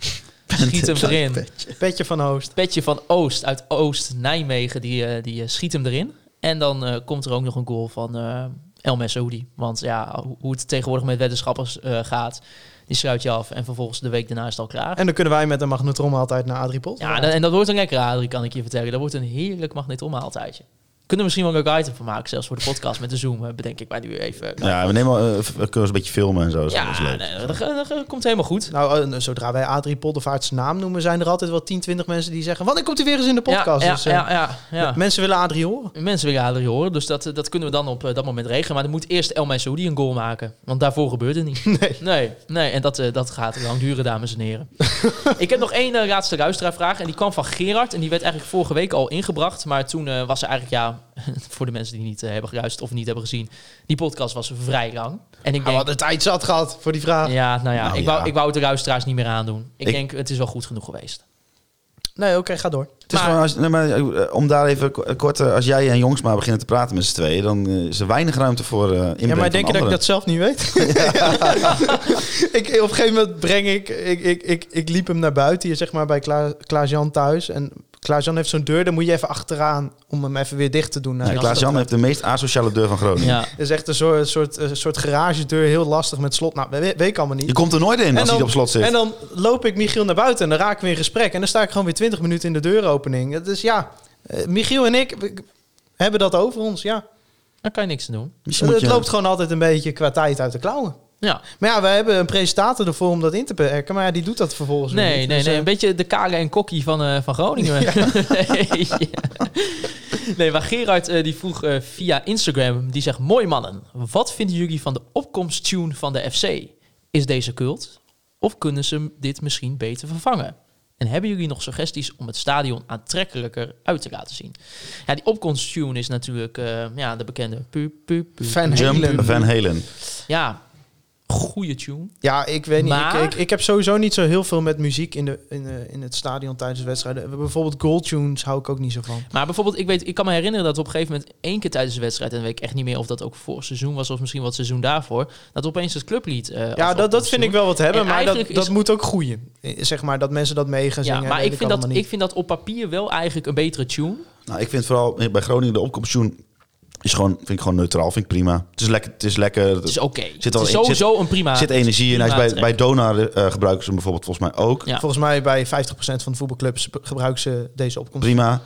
Schiet hem erin. Petje van Hoost. Petje van Oost uit Oost-Nijmegen, die, eh, die eh, schiet hem erin. En dan eh, komt er ook nog een goal van eh El Messoudi. Want ja, ho- hoe het tegenwoordig met weddenschappers eh, gaat, die sluit je af. En vervolgens de week daarna is het al klaar. En dan kunnen wij met een magnetron altijd naar Adrie Polt. Ja, en dat- en dat wordt een lekkere Adrie, kan ik je vertellen. Dat wordt een heerlijk magnetonmaaltijdje. Kunnen we misschien wel een leuk item van maken, zelfs voor de podcast met de Zoom, eh, bedenk ik maar nu even. Ja, we nemen, eh, we kunnen eens een beetje filmen en zo. Dat is Ja, wel eens leuk. nee, dat, dat- dat komt helemaal goed. Nou, eh, zodra wij Adrie Poldervaart's naam noemen, zijn er altijd wel 10, 20 mensen die zeggen: Wanneer komt hij weer eens in de podcast? Ja, Dus, ja, eh, ja, ja, ja. Mensen willen Adrie horen. Mensen willen Adrie horen, dus dat, eh, dat kunnen we dan op eh, dat moment regelen. Maar dan moet eerst El Messoudi een goal maken, want daarvoor gebeurt het niet. Nee. Nee, nee en dat, eh, dat gaat lang duren, dames en heren. ik heb nog één eh, laatste luisteraarvraag. En die kwam van Gerard. En die werd eigenlijk vorige week al ingebracht. Maar toen eh, was er eigenlijk, ja, voor de mensen die niet eh, hebben geluisterd of niet hebben gezien. Die podcast was vrij lang. En ik Ah, denk, wat een tijd zat gehad voor die vraag. ja, nou ja, Nou ik, wou, ja. ik wou het de luisteraars niet meer aandoen. Ik, Ik- denk, het is wel goed genoeg geweest. Nee, oké, ga door. Het is Maar- gewoon, als, nee, maar, eh, om daar even ko- kort, eh, als jij en Jongsma beginnen te praten met z'n tweeën, dan eh, is er weinig ruimte voor eh inbreng Ja, maar denk je van anderen. dat ik dat zelf niet weet? ik, op een gegeven moment breng ik ik, ik, ik... ik liep hem naar buiten hier, zeg maar, bij Kla- Klaas-Jan thuis. En Klaas-Jan heeft zo'n deur, daar moet je even achteraan om hem even weer dicht te doen. Nee, Klaas-Jan heeft de meest asociale deur van Groningen. Ja. Het is echt een soort, soort, eh, soort garagedeur, heel lastig met slot. Nou, we- weet ik allemaal niet. Je komt er nooit in als hij op slot zit. en dan loop ik Michiel naar buiten en dan raken we in gesprek. En dan sta ik gewoon weer 20 minuten in de deuropening. Het is ja, eh, Michiel en ik we- hebben dat over ons, ja. Daar kan je niks aan doen. Misschien Het moet je- loopt gewoon altijd een beetje qua tijd uit de klauwen. Ja, Maar ja, we hebben een presentator ervoor om dat in te perken. Maar ja, die doet dat vervolgens weer nee, niet. nee, Dus, nee. eh, Een beetje de kale en kokkie van, eh, van Groningen. nee, ja. Nee, maar Gerard eh, die vroeg eh, via Instagram, die zegt... Mooi mannen, wat vinden jullie van de opkomsttune van de FC? Is deze cult? Of kunnen ze dit misschien beter vervangen? En hebben jullie nog suggesties om het stadion aantrekkelijker uit te laten zien? Ja, die opkomsttune is natuurlijk eh, ja, de bekende... Pu, pu, pu, Van pu, Jump Halen. Van Halen. Ja, goede tune. Ja, ik weet niet. Maar- Ik, ik, ik heb sowieso niet zo heel veel met muziek in, de, in, de- in het stadion tijdens wedstrijden. Bijvoorbeeld goal tunes hou ik ook niet zo van. Maar bijvoorbeeld, ik, weet, ik kan me herinneren dat op een gegeven moment één keer tijdens de wedstrijd, en dan weet ik echt niet meer of dat ook vorig seizoen was of misschien wat seizoen daarvoor, dat opeens het clublied. eh, Ja, afloopt dat, van dat het vind ik seizoen. wel wat hebben, En maar dat, eigenlijk dat is- moet ook groeien. Eh, Zeg maar, dat mensen dat mee gaan zingen. Ja, maar weet ik vind, allemaal dat, niet. ik vind dat op papier wel eigenlijk een betere tune. Nou, ik vind vooral bij Groningen de opkomstjoen is gewoon, vind ik gewoon neutraal, vind ik prima. Het is lekker, het is lekker. Het is oké. Zit Zit al al is in- zit- sowieso een prima. Er zit energie in. Hij is prima bij, bij Donar eh, gebruiken ze hem bijvoorbeeld volgens mij ook. Ja. Volgens mij bij 50% van de voetbalclubs be- gebruiken ze deze opkomst. Prima.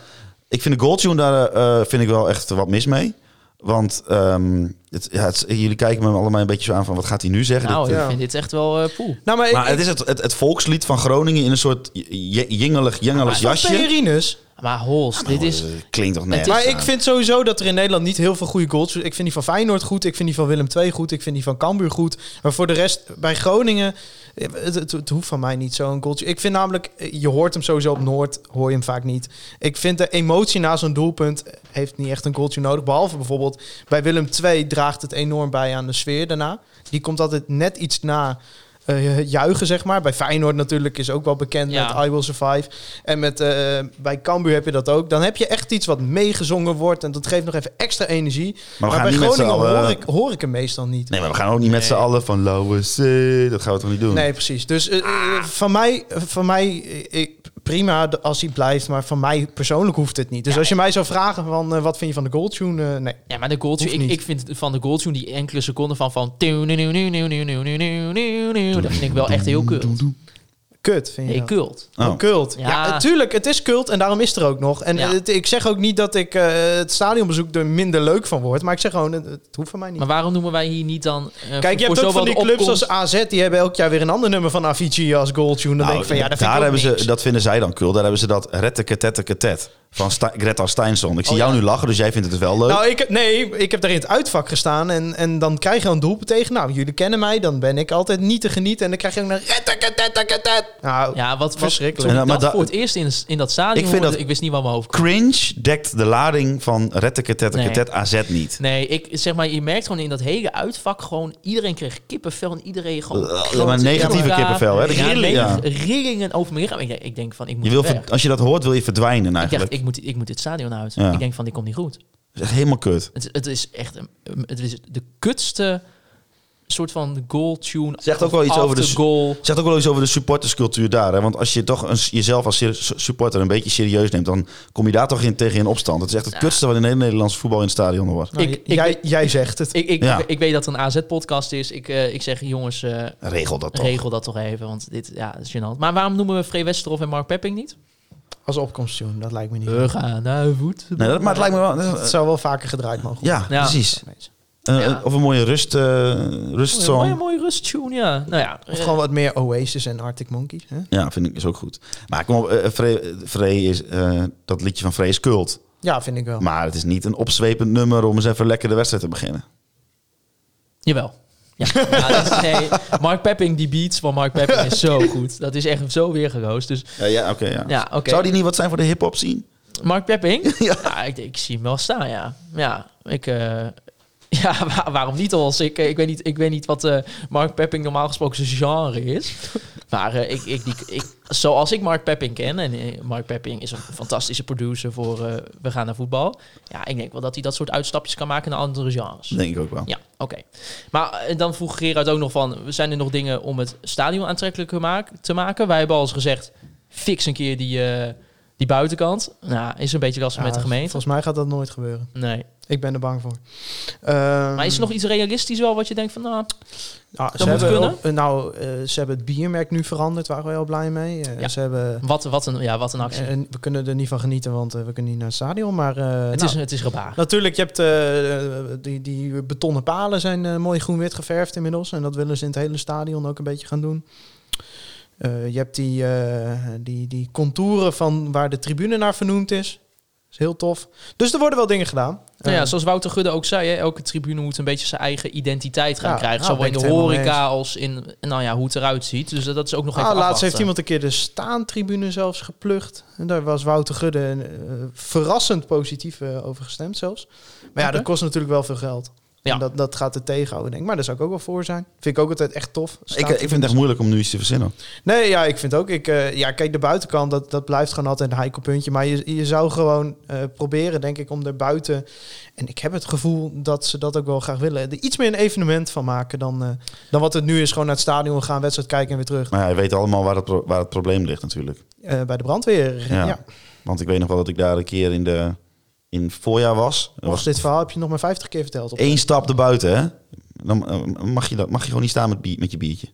Ik vind de goaltune daar eh, vind ik wel echt wat mis mee. Want ehm, het, ja, het is- jullie kijken me allemaal een beetje zo aan van wat gaat hij nu zeggen. Nou, Dit- ik Ja. vind dit echt wel eh poel. Nou, maar, maar ik, het is het, het, het volkslied van Groningen in een soort j- jingelig, jengelig van jasje. Pellegrinus. Maar Hols, dit is... Eh, Klinkt toch net. is- Maar ik vind sowieso dat er in Nederland niet heel veel goede goals. Ik vind die van Feyenoord goed. Ik vind die van Willem II goed. Ik vind die van Cambuur goed. Maar voor de rest, bij Groningen... eh, Het, het, het hoeft van mij niet zo'n goaltje. Ik vind namelijk... eh, Je hoort hem sowieso op Noord. Hoor je hem vaak niet. Ik vind de emotie na zo'n doelpunt... eh, heeft niet echt een goaltje nodig. Behalve bijvoorbeeld bij Willem II draagt het enorm bij aan de sfeer daarna. Die komt altijd net iets na... eh, juichen, zeg maar. Bij Feyenoord natuurlijk is ook wel bekend Ja. met I Will Survive. En met, eh, bij Cambuur heb je dat ook. Dan heb je echt iets wat meegezongen wordt. En dat geeft nog even extra energie. gaan Maar, bij niet met Groningen z'n allen- eh, hoor, ik, hoor ik hem meestal niet. Nee, Nee, maar we gaan ook niet met z'n allen van Lauwe C. Dat gaan we toch niet doen? precies. Dus eh, eh, van mij, van mij eh, ik- prima d- als hij blijft. Maar van mij persoonlijk hoeft het niet. Dus als je mij zou vragen van eh, wat vind je van de goaltune? eh, nee. Ja, maar de goaltune, Hoeft ik, niet. ik vind van de goaltune die enkele seconden van van... Dat vind ik wel echt heel kult. Kut vind je Nee, dat? kult. Oh. Oh, cult. Ja. Ja. tuurlijk, het is cult en daarom is het er ook nog. En Ja. het- ik zeg ook niet dat ik eh, het stadionbezoek er minder leuk van word. Maar ik zeg gewoon, het, het hoeft van mij niet. Maar waarom noemen wij hier niet dan... eh, voor- Kijk, je voor hebt ook van zowel die de clubs opkomst- als AZ, die hebben elk jaar weer een ander nummer van Avicii als goaltune. Dan Nou, denk ik van, ja, dat vind daar ik ook hebben niks. ze, dat vinden zij dan cool. Daar hebben ze dat rette ketette ketet van Sta- Greta Steinson. Ik zie Oh, jou ja. nu lachen, dus jij vindt het wel leuk. Nou, ik, heb- nee, ik heb daar in het uitvak gestaan en, en dan krijg je een doelpunt tegen. Nou, jullie kennen mij, dan ben ik altijd niet te genieten. En dan krijg je ook naar... Nou, Ja, wat, wat Verschrikkelijk. toen ik En dan- maar dat da- voor het eerst in, in dat stadion Ik ik vind dat- ik wist niet waar mijn hoofd kwam. Cringe dekt de lading van rette ketette Nee. ketet AZ niet. Nee, ik zeg maar, je merkt gewoon in dat hele uitvak gewoon iedereen kreeg kippenvel en iedereen gewoon. Eh, grote maar negatieve rillingen. kippenvel, hè? De Ja, rillingen. neg- rillingen over mijn lichaam. Ik denk, ik denk van, ik moet Je wil, weg. ver- als je dat hoort, wil je verdwijnen Ik dacht, eigenlijk. ik moet, ik moet dit stadion uit. Ja. Ik denk van, dit komt niet goed. Dat is echt helemaal kut. Het, het is echt, een- het is de kutste soort van goal tune. Zegt ook wel iets After over de- goal. Het zegt ook wel iets over de supporterscultuur daar. Hè? Want als je toch een, jezelf als ser- supporter een beetje serieus neemt... dan kom je daar toch in, tegen in opstand. Het is echt het kutste wat in het Nederlandse voetbal in het stadion hoort. Nou, ik- jij, ik- jij zegt het. Ik, ik, Ja. ik weet dat er een AZ-podcast is. Ik, eh, ik zeg, jongens, eh, Regel dat toch. regel dat toch even. Want dit ja, dat is gênant. Maar waarom noemen we Free Westerhof en Mark Pepping niet? Als opkomstjoen, dat lijkt me Eh, niet. We gaan naar voet. Nee, dat, maar het lijkt me wel... Het zou wel vaker gedraaid mogen worden. Ja, Ja. precies. Eh, Ja. Of een mooie rust, eh, rustsong. Mooi, mooie rusttune, ja. Nou ja, Of eh, gewoon wat meer Oasis en Arctic Monkeys. Hè? Ja, vind ik is ook goed. Maar kom op, eh, Free- eh, Free is, eh, dat liedje van Free is cult. Ja, vind ik wel. Maar het is niet een opzwepend nummer om eens even lekker de wedstrijd te beginnen. jawel. Ja, ja, dat is- nee, Mark Pepping, die beats van Mark Pepping is zo goed. Dat is echt zo weer geroost. Dus Ja, ja oké. ja. Ja, oké. Zou die niet wat zijn voor de hip-hop zien? Mark Pepping, ja. ik, ik zie hem wel staan, ja. Ja, ik, eh, ja wa- waarom niet als ik, eh, ik, weet niet, ik weet niet wat eh, Mark Pepping normaal gesproken zijn genre is. Maar eh, ik, ik, die, ik, zoals ik Mark Pepping ken, en eh, Mark Pepping is een fantastische producer voor eh, We gaan naar voetbal. Ja, ik denk wel dat hij dat soort uitstapjes kan maken naar andere genres. Denk ik ook Oh. wel. Ja, oké. Maar eh, dan vroeg Gerard ook nog van... zijn er nog dingen om het stadion aantrekkelijker maak- te maken? Wij hebben al eens gezegd... fix een keer die, eh, die buitenkant. Nou, is een beetje lastig Ja, met de gemeente. Volgens mij gaat dat nooit gebeuren. Nee. Ik ben er bang voor. Ehm, Maar is er nog iets realistisch wel wat je denkt van... Nou, Nou, ze Dat moet hebben, kunnen. ook- eh, nou, eh, ze hebben het biermerk nu veranderd, waren we heel blij mee. Eh, Ja. ze hebben, wat, wat, een, ja, wat een actie. en we kunnen er niet van genieten, want eh, we kunnen niet naar het stadion. Maar eh, het, nou, is, het is gebaar. natuurlijk, je hebt eh, die, die betonnen palen zijn eh, mooi groen-wit geverfd inmiddels. En dat willen ze in het hele stadion ook een beetje gaan doen. Eh, je hebt die, eh, die, die contouren van waar de tribune naar vernoemd is. is heel tof. Dus er worden wel dingen gedaan. Nou ja, Eh, zoals Wouter Gudde ook zei... Hè, elke tribune moet een beetje zijn eigen identiteit gaan Ja, krijgen. nou, zowel in ben de ik het helemaal mee horeca als in nou ja, hoe het eruit ziet. Dus dat is ook nog Ah, even laatst afwachten. heeft iemand een keer de staantribune zelfs geplucht. En daar was Wouter Gudde eh, verrassend positief eh, over gestemd zelfs. Maar ja, Oké. dat kost natuurlijk wel veel geld. Ja. En dat, dat gaat het tegenhouden, denk ik. Maar daar zou ik ook wel voor zijn. Vind ik ook altijd echt tof. Ik, ik vind het echt moeilijk om nu iets te verzinnen. Nee, ja, ik vind ook. Ik, eh, ja, kijk, de buitenkant, dat, dat blijft gewoon altijd een heikel puntje. Maar je, je zou gewoon eh, proberen, denk ik, om daarbuiten... En ik heb het gevoel dat ze dat ook wel graag willen. Er iets meer een evenement van maken dan, eh, dan wat het nu is. Gewoon naar het stadion gaan, wedstrijd kijken en weer terug. Maar ja, je weet allemaal waar het, pro- waar het probleem ligt natuurlijk. Eh, bij de brandweer. Ja. Ja. Want ik weet nog wel dat ik daar een keer in, de, in het voorjaar was. Er Och, was dit verhaal heb je nog maar 50 keer verteld. Op één stap erbuiten, hè. Dan eh, mag je, dat, mag je gewoon niet staan met, bier- met je biertje.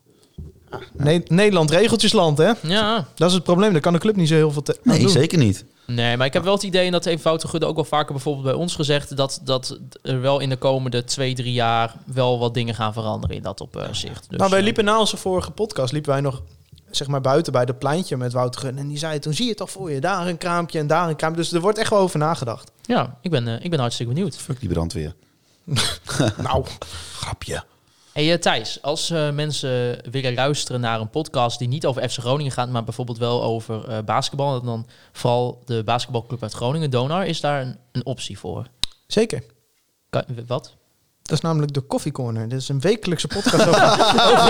Ne- Nederland regeltjesland, hè? Ja. Dat is het probleem. Daar kan de club niet zo heel veel te aan Nee, doen. zeker niet. Nee, maar ik heb wel het idee, en dat heeft Wouter Gudde ook wel vaker bijvoorbeeld bij ons gezegd, dat, dat er wel in de komende twee, drie jaar wel wat dingen gaan veranderen in dat opzicht. Dus, nou, wij eh, liepen na onze vorige podcast, liepen wij nog zeg maar buiten bij dat pleintje met Wouter Gun. En die zei toen, zie je toch voor je, daar een kraampje en daar een kraampje. Dus er wordt echt wel over nagedacht. Ja, ik ben, eh, ik ben hartstikke benieuwd. Fuck die brandweer. nou, Grapje. Hey eh, Thijs, als eh, mensen willen luisteren naar een podcast die niet over FC Groningen gaat, maar bijvoorbeeld wel over eh, basketbal, en dan vooral de basketbalclub uit Groningen, Donar, is daar een, een optie voor? zeker. Kan, wat? Dat is namelijk de Coffee Corner. Dit is een wekelijkse podcast over,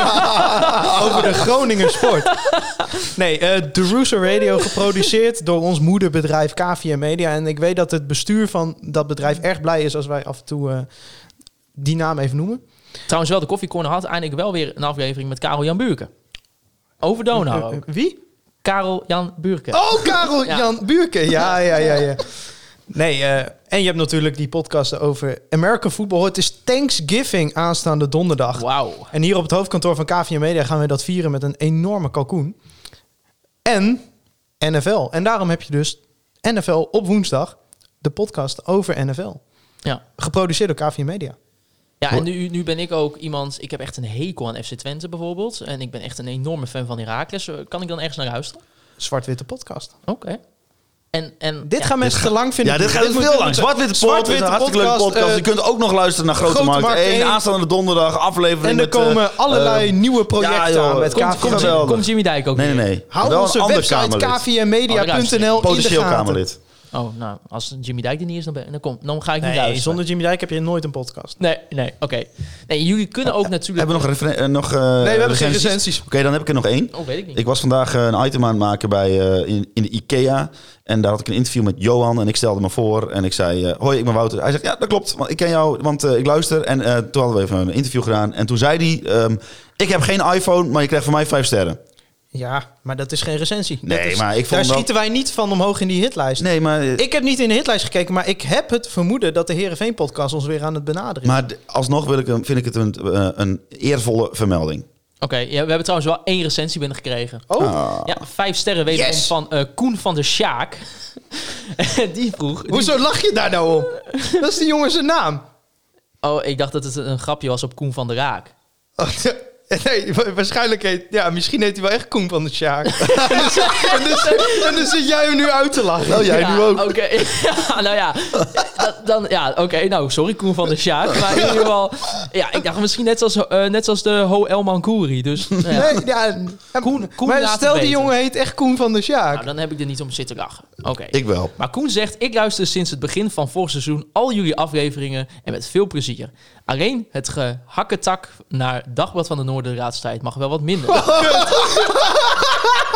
over- over de Groninger sport. Nee, eh de Rooster Radio geproduceerd door ons moederbedrijf KVM Media. En ik weet dat het bestuur van dat bedrijf erg blij is als wij af en toe eh, die naam even noemen. Trouwens wel, de koffiecorner had eindelijk wel weer een aflevering met Karel Jan Buurken. Over Donar Eh, eh, ook. wie? Karel Jan Buurken. Oh, Karel Ja. Jan Buurken. Ja, ja, ja, ja. Nee, eh, en je hebt natuurlijk die podcast over American Football. Het is Thanksgiving aanstaande donderdag. Wauw. En hier op het hoofdkantoor van KVM Media gaan we dat vieren met een enorme kalkoen. En NFL. En daarom heb je dus NFL op woensdag, de podcast over NFL. Ja. Geproduceerd door KVM Media. Ja, en nu, nu ben ik ook iemand... Ik heb echt een hekel aan FC Twente bijvoorbeeld. En ik ben echt een enorme fan van Heracles. Eh, Kan ik dan ergens naar luisteren? Zwart-witte podcast. Oké. En, en, Dit ja, gaan mensen te lang vinden. Ja, dit gaat moet- veel lang. moet- Zwart-Witte Poort Zwart-Witte is een hartstikke leuke podcast. eh, je kunt ook nog luisteren naar Grote, Grote Markt Markt 1. één. Aanstaande donderdag aflevering en er met, eh, komen allerlei eh, nieuwe projecten ja, joh, aan met komt- KVM. komt, Jimmy, geweldig. komt Jimmy Dijk ook Nee, nee, weer? nee. Hou Wel onze een ander website Kamerlid. kvmmedia.nl in de Potentieel gaten. Kamerlid. Oh, nou, als Jimmy Dijk er niet is, dan, ben, dan, kom, dan ga ik niet Nee, luisteren. zonder Jimmy Dijk heb je nooit een podcast. Nee, nee, oké. Nee, jullie kunnen ook natuurlijk... Hebben we nog, referen- eh, nog eh, Nee, we hebben geen recensies? recensies. Oké, dan heb ik er nog één. Oh, weet ik niet. Ik was vandaag eh, een item aan het maken bij, eh, in, in de IKEA. En daar had ik een interview met Johan. En ik stelde me voor. En ik zei: eh, Hoi, ik ben Wouter. Hij zegt: Ja, dat klopt. Want ik ken jou, want eh, ik luister. En eh, toen hadden we even een interview gedaan. En toen zei hij: ehm, Ik heb geen iPhone, maar je krijgt van mij vijf sterren. Ja, maar dat is geen recensie. Dat Nee, is- maar ik vond daar wel- schieten wij niet van omhoog in die hitlijst. Nee, maar. eh, Ik heb niet in de hitlijst gekeken, maar ik heb het vermoeden dat de Herenveen-podcast ons weer aan het benaderen is. Maar d- alsnog wil ik, hem- vind ik het een, eh, een eervolle vermelding. Oké, ja, we hebben trouwens wel één recensie binnengekregen. Oh, Ah. Ja, vijf sterren wederom Yes. van eh, Koen van der Sjaak. die vroeg... die- hoezo lach je daar nou om? dat is die jongen zijn naam. oh, ik dacht dat het een grapje was op Koen van der Raak. Oh, nee, wa- waarschijnlijk heet... Ja, misschien heet hij wel echt Koen van de Sjaak. en, dus, en, dus, en dus zit jij hem nu uit te lachen. Nou, jij ja, nu ook. Oké, ja, nou ja. Dat- dan, ja, oké, nou, sorry Koen van der Sjaak. Maar in ieder geval, ja, ik dacht misschien net zoals, eh, net zoals de Ho El Mankouri. Dus nou ja. Nee, ja, Koen, Koen maar laat het stel die weten. jongen heet echt Koen van de Sjaak. nou, dan heb ik er niet om zitten lachen. Oké. Ik wel. Maar Koen zegt, ik luister sinds het begin van vorig seizoen al jullie afleveringen en met veel plezier. Alleen het gehakketak naar Dagblad van de Noorden de laatste tijd mag wel wat minder.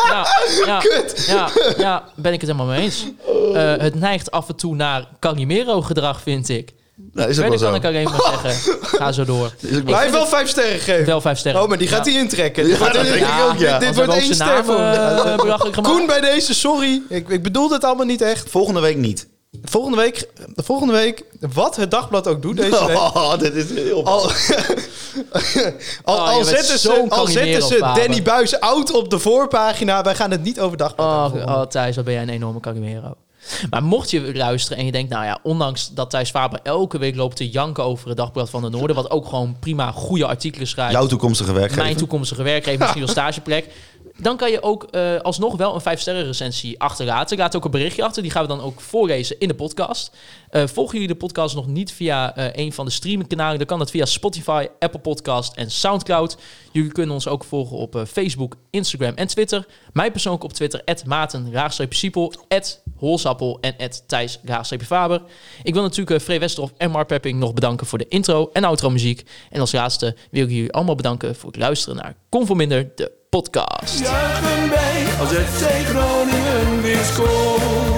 Ja, ja, ja, ja, ben ik het helemaal mee eens. Eh, het neigt af en toe naar Calimero-gedrag, vind ik. Nou, is ook wel Verder kan zo. ik alleen maar zeggen, ga zo door. Is ook wel- Maar hij heeft wel vijf sterren gegeven. Wel vijf sterren. Oh, maar die gaat hij intrekken. Ja, dat denk ik ook, ja. Dit, dit wordt één ster voor eh, hem. Koen bij deze, sorry. Ik, ik bedoel dit allemaal niet echt. Volgende week niet. Volgende week, volgende week wat het dagblad ook doet deze week. Oh, dit is heel... Al, al, Oh, al je bent zetten ze, zo'n al zetten Calimero, ze Faber. Danny Buis oud op de voorpagina. Wij gaan het niet over dagblad Oh, hebben. oh, Thijs, wat ben jij een enorme Calimero. Maar mocht je luisteren en je denkt, nou ja, ondanks dat Thijs Faber elke week loopt te janken over het Dagblad van de Noorden, wat ook gewoon prima goede artikelen schrijft, Jouw toekomstige werkgever. mijn toekomstige werkgever, misschien wel stageplek, Dan kan je ook eh, alsnog wel een 5-sterren recensie achterlaten. Laat ook een berichtje achter. Die gaan we dan ook voorlezen in de podcast. Eh volgen jullie de podcast nog niet via eh, een van de streamingkanalen? Dan kan dat via Spotify, Apple Podcast en Soundcloud. Jullie kunnen ons ook volgen op eh, Facebook, Instagram en Twitter. Mij persoonlijk op Twitter, Maarten, raagstreepje Siepel, Holsappel en Thijs, raagstreepje Faber. Ik wil natuurlijk eh, Free Westerhof en Mark Pepping nog bedanken voor de intro en outro muziek. En als laatste wil ik jullie allemaal bedanken voor het luisteren naar Conforminder, de podcast. Juichen wij als FC Groningen weer scoort.